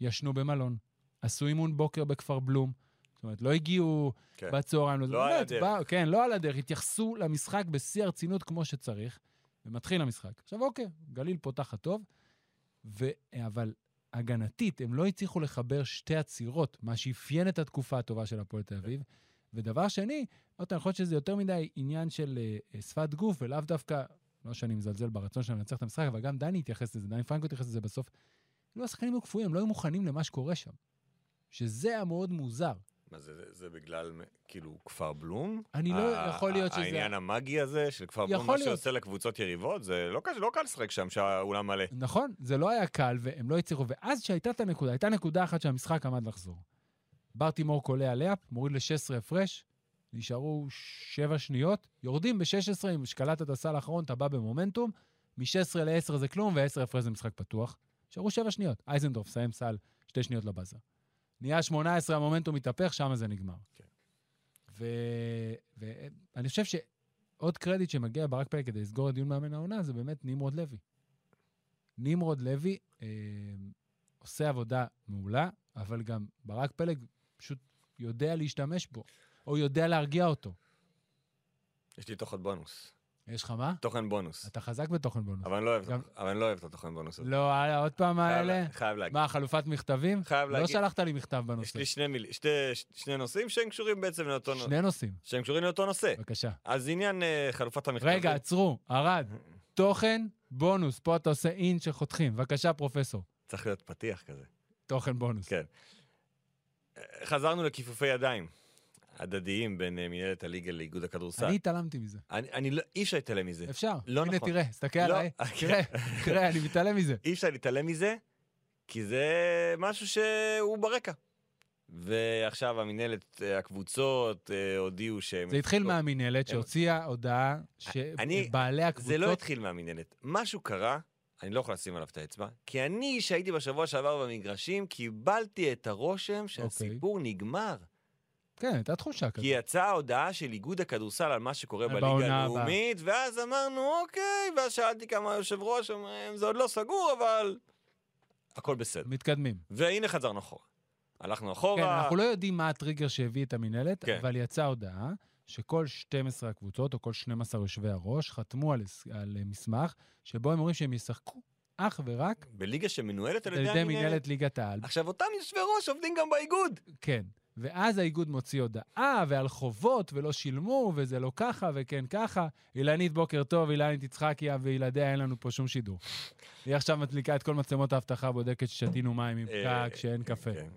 S2: ישנו במלון, עשו אימון בוקר בכפר בלום. זאת אומרת, לא הגיעו
S3: כן.
S2: בצהריים.
S3: לא על
S2: באמת,
S3: הדרך.
S2: באו- כן, לא על הדרך. התייחסו למשחק בשיא הרצינות כמו שצריך, ומתחיל המשחק. עכשיו, אוקיי, גליל פותחת טוב, ו... אבל הגנתית, הם לא הצליחו לחבר שתי עצירות, מה שאפיין את התקופה הטובה של הפועל תל אביב.
S3: כן.
S2: ודבר שני, עוד פעם, יכול להיות שזה יותר מדי עניין של אה, אה, שפת גוף, ולאו דווקא, לא שאני מזלזל ברצון שלהם לנצח את המשחק, אבל גם דני התייחס לזה, דני פרנקו התייחס לזה לא בסוף. כאילו השחקנים היו קפואים, הם לא היו מוכנים למה שקורה שם. שזה היה מאוד מוזר.
S3: מה זה, זה, זה בגלל, כאילו, כפר בלום?
S2: אני לא-
S3: ה-
S2: יכול להיות
S3: ה-
S2: שזה-
S3: העניין המאגי הזה של כפר בלום,
S2: יכול
S3: מה
S2: להיות.
S3: שעושה לקבוצות יריבות, זה לא קל, לא קל לשחק שם, שהאולם מלא.
S2: נכון, זה לא היה קל, והם לא הצליחו. ואז שהייתה את הנקודה, הייתה נקודה אחת שהמשחק עמד לחזור. ברטימור קולע לאפ, מוריד ל-16 הפרש, נשארו 7 שניות, יורדים ב-16, אם שקלטת את הסל האחרון, אתה בא במומנטום, מ-16 ל-10 זה כלום, ו-10 הפרש זה משחק פתוח. נשארו 7 שניות. אייזנדורף, סיים סל, 2 שניות לבאזר. נהיה 18, המומנטום מתהפך, שם זה נגמר.
S3: כן.
S2: ואני חושב שעוד קרדיט שמגיע לברק פלג כדי לסגור את דיון מאמן העונה, זה באמת נמרוד לוי. נמרוד לוי אה, עושה עבודה מעולה, אבל גם ברק פלג פשוט יודע להשתמש בו, או יודע להרגיע אותו.
S3: יש לי תוכן בונוס.
S2: יש לך מה?
S3: תוכן בונוס.
S2: אתה חזק בתוכן בונוס.
S3: אבל אני לא אוהב את
S2: גם-
S3: התוכן- אבל אני לא אוהב את התוכן בונוס הזה.
S2: לא, הלאה, עוד פעם
S3: חייב
S2: האלה?
S3: לה- חייב להגיד.
S2: מה, חלופת מכתבים?
S3: חייב
S2: לא
S3: להגיד.
S2: שלחת לי מכתב
S3: יש
S2: בנושא.
S3: לי שני מיל- שתי- ש- שני נושאים שהם קשורים בעצם לאותו נושא.
S2: שני נושאים,
S3: שהם קשורים לאותו נושא.
S2: בבקשה.
S3: אז עניין אה, חלופת המכתבים.
S2: רגע, עצרו, ארד, תוכן, בונוס. פה אתה עושה אין שחותכים. בבקשה, פרופסור.
S3: צריך להיות פתיח כזה.
S2: תוכן בונוס.
S3: כן. אה, חזרנו לכיפופי ידיים הדדיים בין אה, מנהלת הליגה לאיגוד הכדורסל.
S2: אני התעלמתי מזה.
S3: אני, אני לא, אי אפשר להתעלם מזה.
S2: אפשר.
S3: לא
S2: הנה,
S3: נכון.
S2: תראה, תסתכל
S3: לא,
S2: עליי. תראה, תראה, אני מתעלם מזה.
S3: אי אפשר להתעלם מזה, כי זה משהו שהוא ברקע. ועכשיו המינהלת, אה, הקבוצות אה, הודיעו שהם...
S2: זה התחיל
S3: לא,
S2: מהמינהלת שהוציאה הודעה
S3: אני-
S2: שבעלי הקבוצות...
S3: זה לא התחיל מהמינהלת. משהו קרה, אני לא יכול לשים עליו את האצבע, כי אני, שהייתי בשבוע שעבר במגרשים, קיבלתי את
S2: אוקיי.
S3: הרושם שהסיפור נגמר.
S2: כן, הייתה תחושה כזאת.
S3: כי יצאה ההודעה של איגוד הכדורסל על מה שקורה
S2: בעונה
S3: בליגה
S2: הבאה.
S3: הלאומית, ואז אמרנו, אוקיי, ואז שאלתי כמה יושב ראש, אומרים, זה עוד לא סגור, אבל... הכל בסדר.
S2: מתקדמים.
S3: והנה חזרנו אחורה. הלכנו אחורה.
S2: כן, אנחנו לא יודעים מה הטריגר שהביא את המינהלת,
S3: כן.
S2: אבל יצאה הודעה שכל 12 הקבוצות, או כל 12 יושבי הראש, חתמו על הס- על אה, מסמך שבו הם אומרים שהם ישחקו אך ורק
S3: בליגה שמנוהלת על
S2: על
S3: ידי
S2: ידי
S3: המינהלת.
S2: מינהלת ליגת העל.
S3: עכשיו, אותם יושבי ראש עובדים גם באיגוד.
S2: כן. ואז האיגוד מוציא הודעה, ועל חובות, ולא שילמו, וזה לא ככה, וכן ככה. אילנית, בוקר טוב, אילנית יצחקיה וילדיה, אין לנו פה שום שידור. היא עכשיו מדליקה את כל מצלמות האבטחה, בודקת ששתינו מים עם
S3: אה,
S2: פקק, שאין קפה.
S3: כן.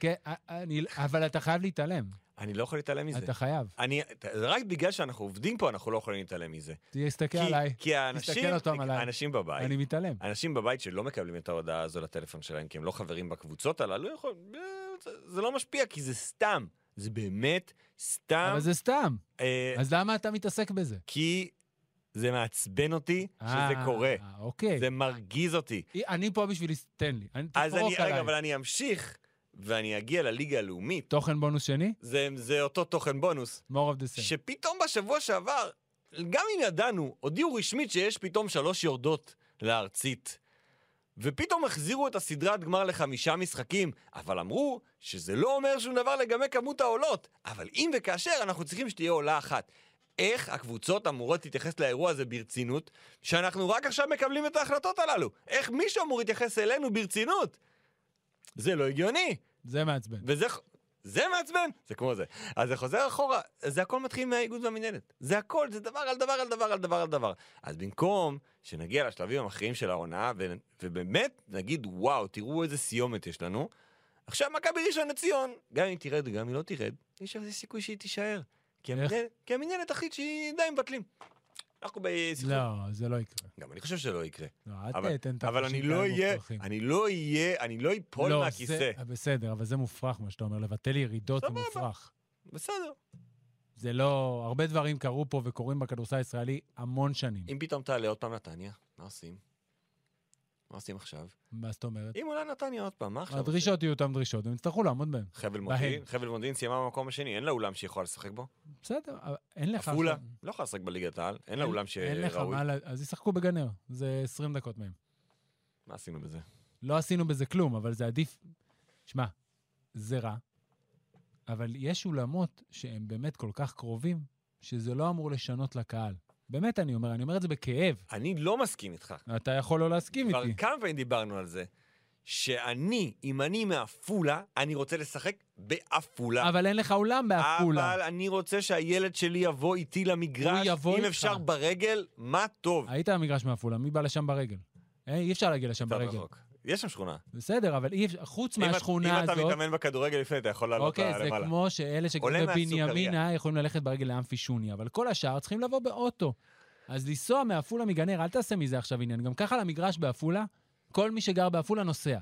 S2: כן, א- אני- אבל אתה חייב להתעלם.
S3: אני לא יכול להתעלם מזה.
S2: אתה חייב.
S3: אני, ת- רק בגלל שאנחנו עובדים פה, אנחנו לא יכולים להתעלם מזה.
S2: תסתכל
S3: כי-
S2: כן, עליי.
S3: כי האנשים,
S2: תסתכל עוד פעם עליי.
S3: האנשים בבית,
S2: אני מתעלם.
S3: אנשים בבית שלא מקבלים את ההודעה הזו לטלפון שלהם, כי הם לא חברים בקבוצות הללו, לא יכול, אה, זה- זה לא משפיע, כי זה סתם. זה באמת סתם.
S2: אבל זה סתם.
S3: אה,
S2: אז למה אתה מתעסק בזה? כי
S3: זה מעצבן אותי שזה קורה.
S2: אוקיי.
S3: זה מרגיז אותי.
S2: אי- אני פה בשביל... לס- תן לי. אני-
S3: אז אני,
S2: תפרוק עליי.
S3: רגע, אבל אני אמשיך, ואני אגיע לליגה הלאומית.
S2: תוכן בונוס שני?
S3: זה, זה אותו תוכן בונוס,
S2: more of the same.
S3: שפתאום בשבוע שעבר, גם אם ידענו, הודיעו רשמית שיש פתאום שלוש יורדות לארצית. ופתאום החזירו את הסדרת גמר לחמישה משחקים, אבל אמרו שזה לא אומר שום דבר לגבי כמות העולות. אבל אם וכאשר, אנחנו צריכים שתהיה עולה אחת. איך הקבוצות אמורות להתייחס לאירוע הזה ברצינות, שאנחנו רק עכשיו מקבלים את ההחלטות הללו? איך מישהו אמור להתייחס אלינו ברצינות? זה לא הגיוני.
S2: זה מעצבן.
S3: וזה ח- זה מעצבן, זה כמו זה. אז זה חוזר אחורה, זה הכל מתחיל מהאיגוד והמינהלת. זה הכל, זה דבר על דבר על דבר על דבר על דבר. אז במקום שנגיע לשלבים המכריעים של העונה, ו- ובאמת נגיד, וואו, תראו איזה סיומת יש לנו, עכשיו מכבי ראשון לציון, גם אם תרד וגם אם לא תרד, יש איזה סיכוי שהיא תישאר. כי
S2: איך?
S3: המינהלת- כי המינהלת תחליט שהיא די מבטלים. אנחנו בסכסוך.
S2: לא, זה לא יקרה.
S3: גם אני חושב שלא יקרה.
S2: לא, אל
S3: אבל,
S2: תתן את
S3: אבל אני
S2: האנשים
S3: לא
S2: כאלה
S3: אהיה,
S2: מופרכים.
S3: אני לא אהיה, אני לא איפול
S2: לא,
S3: מהכיסא.
S2: זה- בסדר, אבל זה מופרך מה שאתה אומר, לבטל ירידות זה
S3: סבבה.
S2: מופרך.
S3: בסדר.
S2: זה לא... הרבה דברים קרו פה וקורים בכדורסל הישראלי המון שנים.
S3: אם פתאום תעלה עוד פעם נתניה, מה עושים? מה עושים עכשיו?
S2: מה זאת אומרת?
S3: אם עולה נתניה עוד פעם, מה עכשיו? עושים?
S2: הדרישות יהיו אותן דרישות, הם יצטרכו לעמוד בהן.
S3: חבל מודיעין,
S2: בהם.
S3: חבל מודיעין סיימה במקום השני, אין לה אולם שהיא יכולה לשחק בו.
S2: בסדר, אבל אין לך...
S3: עפולה,
S2: עכשיו-
S3: לא יכולה לשחק בליגת העל, אין לה אולם
S2: אין לך
S3: שראוי.
S2: מה... לה- אז ישחקו בגנר, זה 20 דקות מהם.
S3: מה עשינו בזה?
S2: לא עשינו בזה כלום, אבל זה עדיף... שמע, זה רע, אבל יש אולמות שהם באמת כל כך קרובים, שזה לא אמור לשנות לקהל. באמת אני אומר, אני אומר את זה בכאב.
S3: אני לא מסכים איתך.
S2: אתה יכול לא להסכים
S3: כבר
S2: איתי.
S3: כמה פעמים דיברנו על זה, שאני, אם אני מעפולה, אני רוצה לשחק בעפולה.
S2: אבל אין לך אולם בעפולה.
S3: אבל אני רוצה שהילד שלי יבוא איתי למגרש,
S2: הוא יבוא
S3: אם
S2: איתך.
S3: אפשר ברגל, מה טוב.
S2: היית במגרש מעפולה, מי בא לשם ברגל? אה, אי אפשר להגיע לשם
S3: קצת
S2: ברגל.
S3: רחוק. יש שם שכונה.
S2: בסדר, אבל אי אפשר, חוץ
S3: אם את-
S2: מהשכונה
S3: אם אתה
S2: הזאת...
S3: מתאמן בכדורגל לפני, אתה יכול לעלות
S2: אוקיי, זה
S3: למעלה.
S2: כמו שאלה שגרים
S3: עולה מהסופריה.
S2: בבנימינה יכולים ללכת ברגל לאמפי שוני, אבל כל השאר צריכים לבוא באוטו. אז לנסוע מעפולה מגנר, אל תעשה מזה עכשיו עניין. גם ככה למגרש בעפולה, כל מי שגר בעפולה נוסע.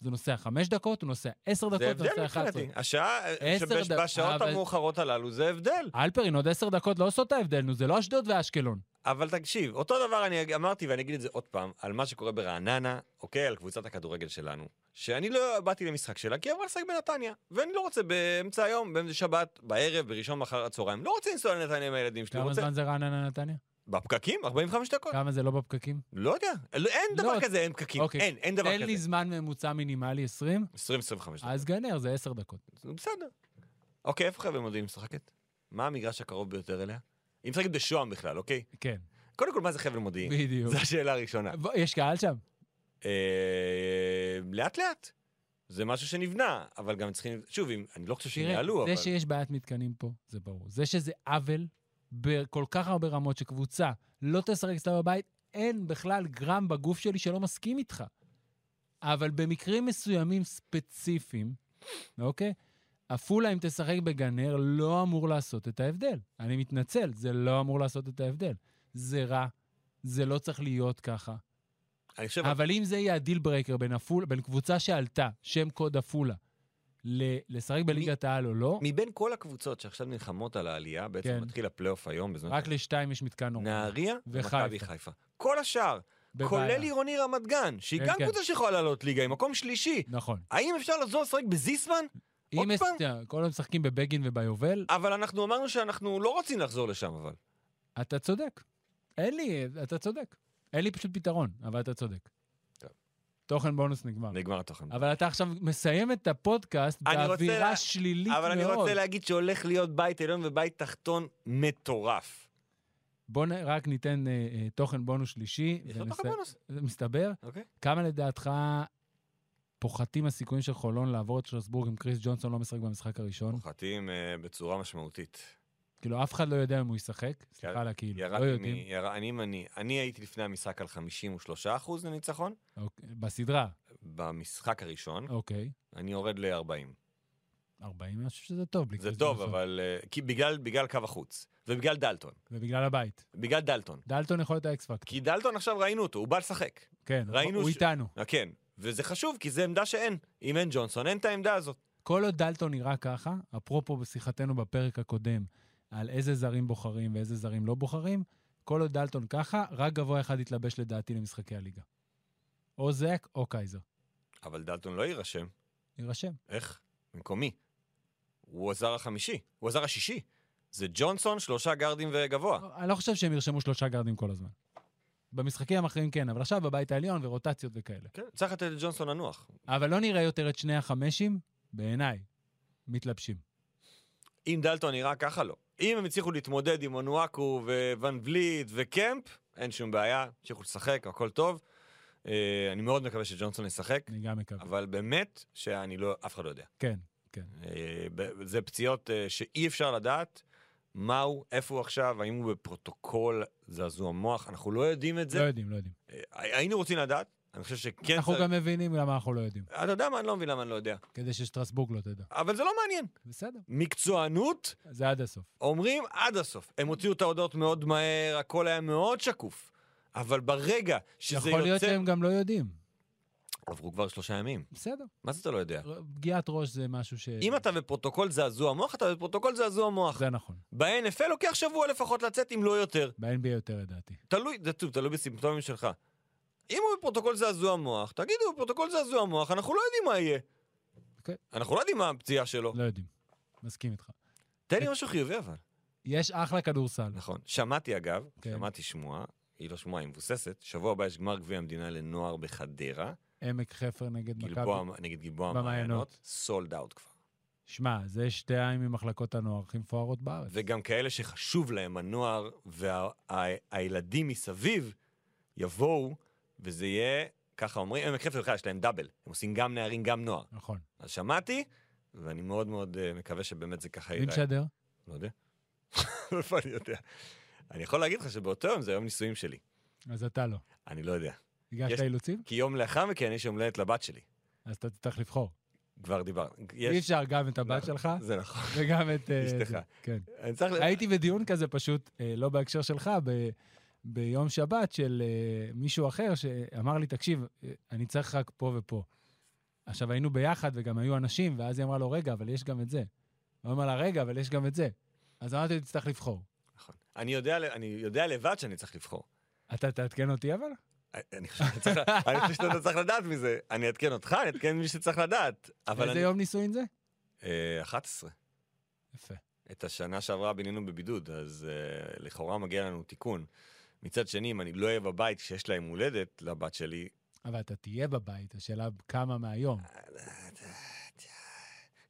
S2: אז הוא נוסע חמש דקות, הוא נוסע עשר דקות,
S3: זה
S2: הוא
S3: הבדל
S2: נוסע אחת עשרה.
S3: מבחינתי. השעה,
S2: עשר
S3: שבש-
S2: דק-
S3: בשעות
S2: אבל-
S3: המאוחרות הללו זה הבדל.
S2: אלפרין, עוד עשר דקות לא עושות את ההבדל, נו, זה לא אשדוד ואשקלון.
S3: אבל תקשיב, אותו דבר אני אג- אמרתי ואני אגיד את זה עוד פעם, על מה שקורה ברעננה, אוקיי, על קבוצת הכדורגל שלנו, שאני לא באתי למשחק שלה כי היא אמרה לשחק בנתניה, ואני לא רוצה באמצע היום, באמצע שבת, בערב, בראשון אחר הצהריים, לא רוצה לנסוע לנתניה עם הילדים שלי,
S2: כמה
S3: רוצה...
S2: זמן זה רעננה נתניה?
S3: בפקקים? 45 דקות?
S2: כמה זה לא בפקקים?
S3: לא יודע, לא- אין
S2: לא,
S3: דבר כזה, אין פקקים,
S2: אוקיי.
S3: אין, אין דבר
S2: תן
S3: כזה.
S2: לי זמן ממוצע מינימלי 20,
S3: 20-25 דקות,
S2: אז גנר זה עשר דקות.
S3: בסדר. אוקיי, איפה חייבים מודיעין משחקת? מה המגרש הקרוב ביותר אליה? היא משחקת בשוהם בכלל, אוקיי?
S2: כן,
S3: קודם כל, מה כן. זה חבל מודיעין?
S2: בדיוק.
S3: זו השאלה הראשונה.
S2: בוא, יש קהל שם?
S3: אה, לאט לאט. זה משהו שנבנה, אבל גם צריכים... שוב, אם- אני לא חושב שהם
S2: תראה,
S3: יעלו, אבל...
S2: זה שיש בעיית מתקנים פה, זה ברור. זה שזה עוול בכל כך הרבה רמות שקבוצה לא תשחק אצלה בבית, אין בכלל גרם בגוף שלי שלא מסכים איתך. אבל במקרים מסוימים ספציפיים, אוקיי? עפולה, אם תשחק בגנר, לא אמור לעשות את ההבדל. אני מתנצל, זה לא אמור לעשות את ההבדל. זה רע, זה לא צריך להיות ככה.
S3: אני חושב...
S2: אבל אם זה יהיה הדיל ברייקר בין, עפול, בין קבוצה שעלתה, שם קוד עפולה, ל- לשחק בליגת העל או לא,
S3: מבין כל הקבוצות שעכשיו נלחמות על העלייה, בעצם
S2: כן.
S3: מתחיל הפלייאוף היום בזמן...
S2: רק לשתיים יש מתקן נורא.
S3: נהריה
S2: וחיפה.
S3: ומכבי חיפה. כל השאר,
S2: בבעיה.
S3: כולל עירוני רמת גן, שהיא
S2: כן,
S3: גם
S2: כן.
S3: קבוצה שיכולה לעלות ליגה, עם מקום שלישי.
S2: נכון.
S3: האם אפשר לחזור לשחק בזיסמן? עוד
S2: אם יש-
S3: פעם?
S2: תראה, כל הזמן משחקים בבגין וביובל,
S3: אבל אנחנו אמרנו שאנחנו לא רוצים לחזור לשם, אבל.
S2: אתה צודק. אין לי, אתה צודק. אין לי פשוט פתרון, אבל אתה צודק.
S3: טוב.
S2: תוכן בונוס נגמר.
S3: נגמר התוכן.
S2: אבל אתה עכשיו מסיים את הפודקאסט
S3: אני רוצה
S2: באווירה
S3: לה-
S2: שלילית
S3: אבל אני
S2: מאוד.
S3: רוצה להגיד שהולך להיות בית עליון ובית תחתון מטורף.
S2: בוא נ- רק ניתן אה, אה, תוכן בונוס שלישי.
S3: יש לו
S2: ונס-
S3: תוכן בונוס,
S2: מסתבר,
S3: אוקיי?
S2: כמה לדעתך פוחתים הסיכויים של חולון לעבור את שלוסבורג אם קריס ג'ונסון לא משחק במשחק הראשון?
S3: פוחתים אה, בצורה משמעותית.
S2: כאילו, אף אחד לא יודע אם הוא ישחק.
S3: יר-
S2: סליחה על הכאילו, לא
S3: ירדתי
S2: יודעים.
S3: מ- יר- אני, אני, אני הייתי לפני המשחק על 53 אחוז לניצחון,
S2: אוקיי, בסדרה,
S3: במשחק הראשון,
S2: אוקיי.
S3: אני יורד ל-40.
S2: 40, אני חושב שזה טוב. בלי
S3: זה
S2: קריס
S3: טוב,
S2: ג'ונסון.
S3: אבל... אה, כי בגלל, בגלל קו החוץ, ובגלל דלטון.
S2: ובגלל הבית.
S3: בגלל דלטון.
S2: דלטון יכול להיות האקס פקטור.
S3: כי דלטון עכשיו ראינו אותו, הוא בא לשחק.
S2: כן,
S3: ראינו
S2: הוא
S3: ש-
S2: איתנו.
S3: אה, כן. וזה חשוב, כי זו עמדה שאין. אם אין ג'ונסון, אין את העמדה הזאת.
S2: כל עוד דלטון נראה ככה, אפרופו בשיחתנו בפרק הקודם, על איזה זרים בוחרים ואיזה זרים לא בוחרים, כל עוד דלטון ככה, רק גבוה אחד יתלבש לדעתי למשחקי הליגה. או זק או קייזר.
S3: אבל דלטון לא יירשם.
S2: יירשם.
S3: איך? במקומי. הוא הזר החמישי, הוא הזר השישי. זה ג'ונסון, שלושה גארדים וגבוה.
S2: אני לא חושב שהם ירשמו שלושה גרדים כל הזמן. במשחקים המכריעים כן, אבל עכשיו בבית העליון ורוטציות וכאלה.
S3: כן, צריך לתת לג'ונסון לנוח.
S2: אבל לא נראה יותר את שני החמשים, בעיניי, מתלבשים.
S3: אם דלטון נראה ככה, לא. אם הם הצליחו להתמודד עם אונואקו וואן וליט וקמפ, אין שום בעיה, המשיכו לשחק, הכל טוב. אה, אני מאוד מקווה שג'ונסון ישחק,
S2: אני גם מקווה.
S3: אבל באמת שאני לא, אף אחד לא יודע.
S2: כן.
S3: אה, ב- זה פציעות אה, שאי אפשר לדעת מהו, איפה הוא עכשיו, האם הוא בפרוטוקול זעזוע מוח, אנחנו לא יודעים את
S2: לא
S3: זה. כן,
S2: יודעים, לא יודעים.
S3: אה, היינו רוצים לדעת, אני חושב שכן
S2: אנחנו
S3: צריך-
S2: גם מבינים למה אנחנו לא יודעים.
S3: אתה יודע מה? אני לא מבין למה אני לא יודע.
S2: כדי ששטרסבורג לא תדע.
S3: אבל זה לא מעניין.
S2: בסדר,
S3: מקצוענות,
S2: זה עד הסוף.
S3: אומרים עד הסוף. הם הוציאו את ההודעות מאוד מהר, הכל היה מאוד שקוף. אבל ברגע שזה
S2: יכול להיות
S3: יוצא...
S2: שהם גם לא יודעים.
S3: עברו כבר שלושה ימים.
S2: בסדר.
S3: מה זה אתה לא יודע?
S2: ר- פגיעת ראש זה משהו ש...
S3: אם אתה בפרוטוקול זעזוע מוח, אתה בפרוטוקול זעזוע מוח.
S2: זה נכון.
S3: ב-NFL לוקח שבוע לפחות לצאת, אם לא יותר.
S2: ב-NBA יותר לדעתי.
S3: תלוי, זה טוב, תלוי בסימפטומים שלך. אם הוא בפרוטוקול זעזוע מוח, תגידו, בפרוטוקול זעזוע מוח, אנחנו לא יודעים מה יהיה.
S2: אוקיי.
S3: אנחנו לא יודעים מה הפציעה שלו.
S2: לא יודעים. מסכים איתך.
S3: תן לי משהו חיובי אבל.
S2: יש אחלה כדורסל.
S3: נכון. שמעתי אגב,
S2: כן.
S3: שמעתי שמועה, היא לא שמועה, היא מבוססת, שבוע הבא יש גמר גביע המדינה לנוער בחדרה,
S2: עמק חפר נגד מכבי.
S3: גלבוע, נגד גלבוע
S2: במעיינות.
S3: המעיינות, סולד אאוט כבר.
S2: שמע, זה שתיים ממחלקות הנוער הכי מפוארות בארץ.
S3: וגם כאלה שחשוב להם הנוער והילדים מסביב יבואו, וזה יהיה, ככה אומרים, עמק חפר בכלל יש להם דאבל, הם עושים גם נערים, גם נוער.
S2: נכון.
S3: אז שמעתי, ואני מאוד מאוד אה, מקווה שבאמת זה ככה
S2: מי
S3: ייראה.
S2: משדר?
S3: לא יודע. לא איפה אני יודע? אני יכול להגיד לך שבאותו יום זה יום נישואים שלי.
S2: אז אתה לא.
S3: אני לא יודע.
S2: הגשת
S3: יש-
S2: אילוצים?
S3: כי יום לאחר מכן יש יום הולדת לבת שלי.
S2: אז אתה תצטרך לבחור.
S3: כבר דיברנו. יש-
S2: אי אפשר גם את הבת
S3: נכון,
S2: שלך
S3: זה נכון.
S2: וגם את... אה,
S3: אשתך.
S2: זה. כן.
S3: אני צריך... ל-
S2: הייתי בדיון כזה פשוט, אה, לא בהקשר שלך, ב... ביום שבת של אה, מישהו אחר שאמר לי, תקשיב, אה, אני צריך רק פה ופה. עכשיו, היינו ביחד וגם היו אנשים, ואז היא אמרה לו, רגע, אבל יש גם את זה. הוא אמר לה, רגע, אבל יש גם את זה. אז אמרתי לו, תצטרך לבחור.
S3: נכון. אני יודע ל- אני יודע לבד שאני צריך לבחור. אה,
S2: אתה תעדכן אותי אבל?
S3: אני חושב שאתה צריך- אני חושב שאתה לא צריך לדעת מזה. אני אעדכן אותך, אני אעדכן מי שצריך לדעת. אבל
S2: איזה
S3: אני...
S2: יום נישואין זה?
S3: אה, 11.
S2: יפה.
S3: את השנה שעברה בינינו בבידוד, אז אה, לכאורה מגיע לנו תיקון. מצד שני, אם אני לא אהיה בבית כשיש להם הולדת לבת שלי,
S2: אבל אתה תהיה בבית, השאלה כמה מהיום.
S3: אה,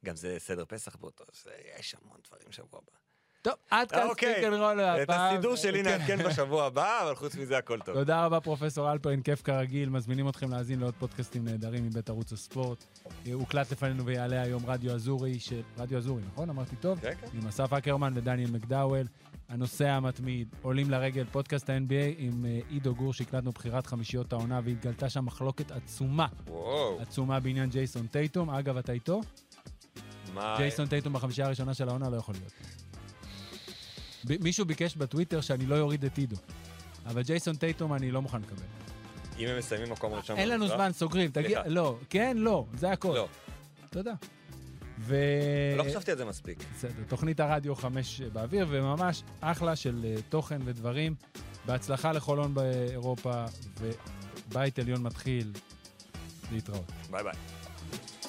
S3: גם זה סדר פסח באותו, זה- יש המון דברים שבוע הבא.
S2: טוב, עד
S3: אה,
S2: כאן
S3: אוקיי.
S2: ספיק אנד רול
S3: את
S2: הפעם.
S3: הסידור שלי
S2: כן.
S3: נעדכן בשבוע הבא, אבל חוץ מזה הכל טוב.
S2: תודה רבה, פרופסור אלפרין, כיף כרגיל. מזמינים אתכם להאזין לעוד פודקאסטים נהדרים מבית ערוץ הספורט. אה, הוקלט לפנינו ויעלה היום רדיו אזורי, ש... רדיו אזורי, נכון? אמרתי טוב?
S3: כן, כן.
S2: עם אסף אקרמן ודניאל מקדאוול. הנוסע המתמיד, עולים לרגל, פודקאסט ה-NBA עם אה, עידו גור, שהקלטנו בחירת חמישיות העונה, והתגלתה שם מחלוקת עצומה,
S3: וואו,
S2: עצומה בעניין ג'ייסון טייטום. אגב, אתה איתו?
S3: מה...
S2: ג'ייסון טייטום בחמישייה הראשונה של העונה לא יכול להיות. ב- מישהו ביקש בטוויטר שאני לא אוריד את עידו, אבל ג'ייסון טייטום אני לא מוכן לקבל.
S3: אם הם מסיימים מקום ראשון...
S2: אין לנו
S3: במזרח?
S2: זמן, סוגרים. תגיע,
S3: סליחה.
S2: לא, כן, לא, זה הכל.
S3: לא,
S2: תודה. ו... אה,
S3: לא חשבתי על זה מספיק.
S2: בסדר, תוכנית הרדיו 5 באוויר, וממש אחלה של אה, תוכן ודברים. בהצלחה לחולון באירופה, ובית עליון מתחיל להתראות.
S3: ביי ביי.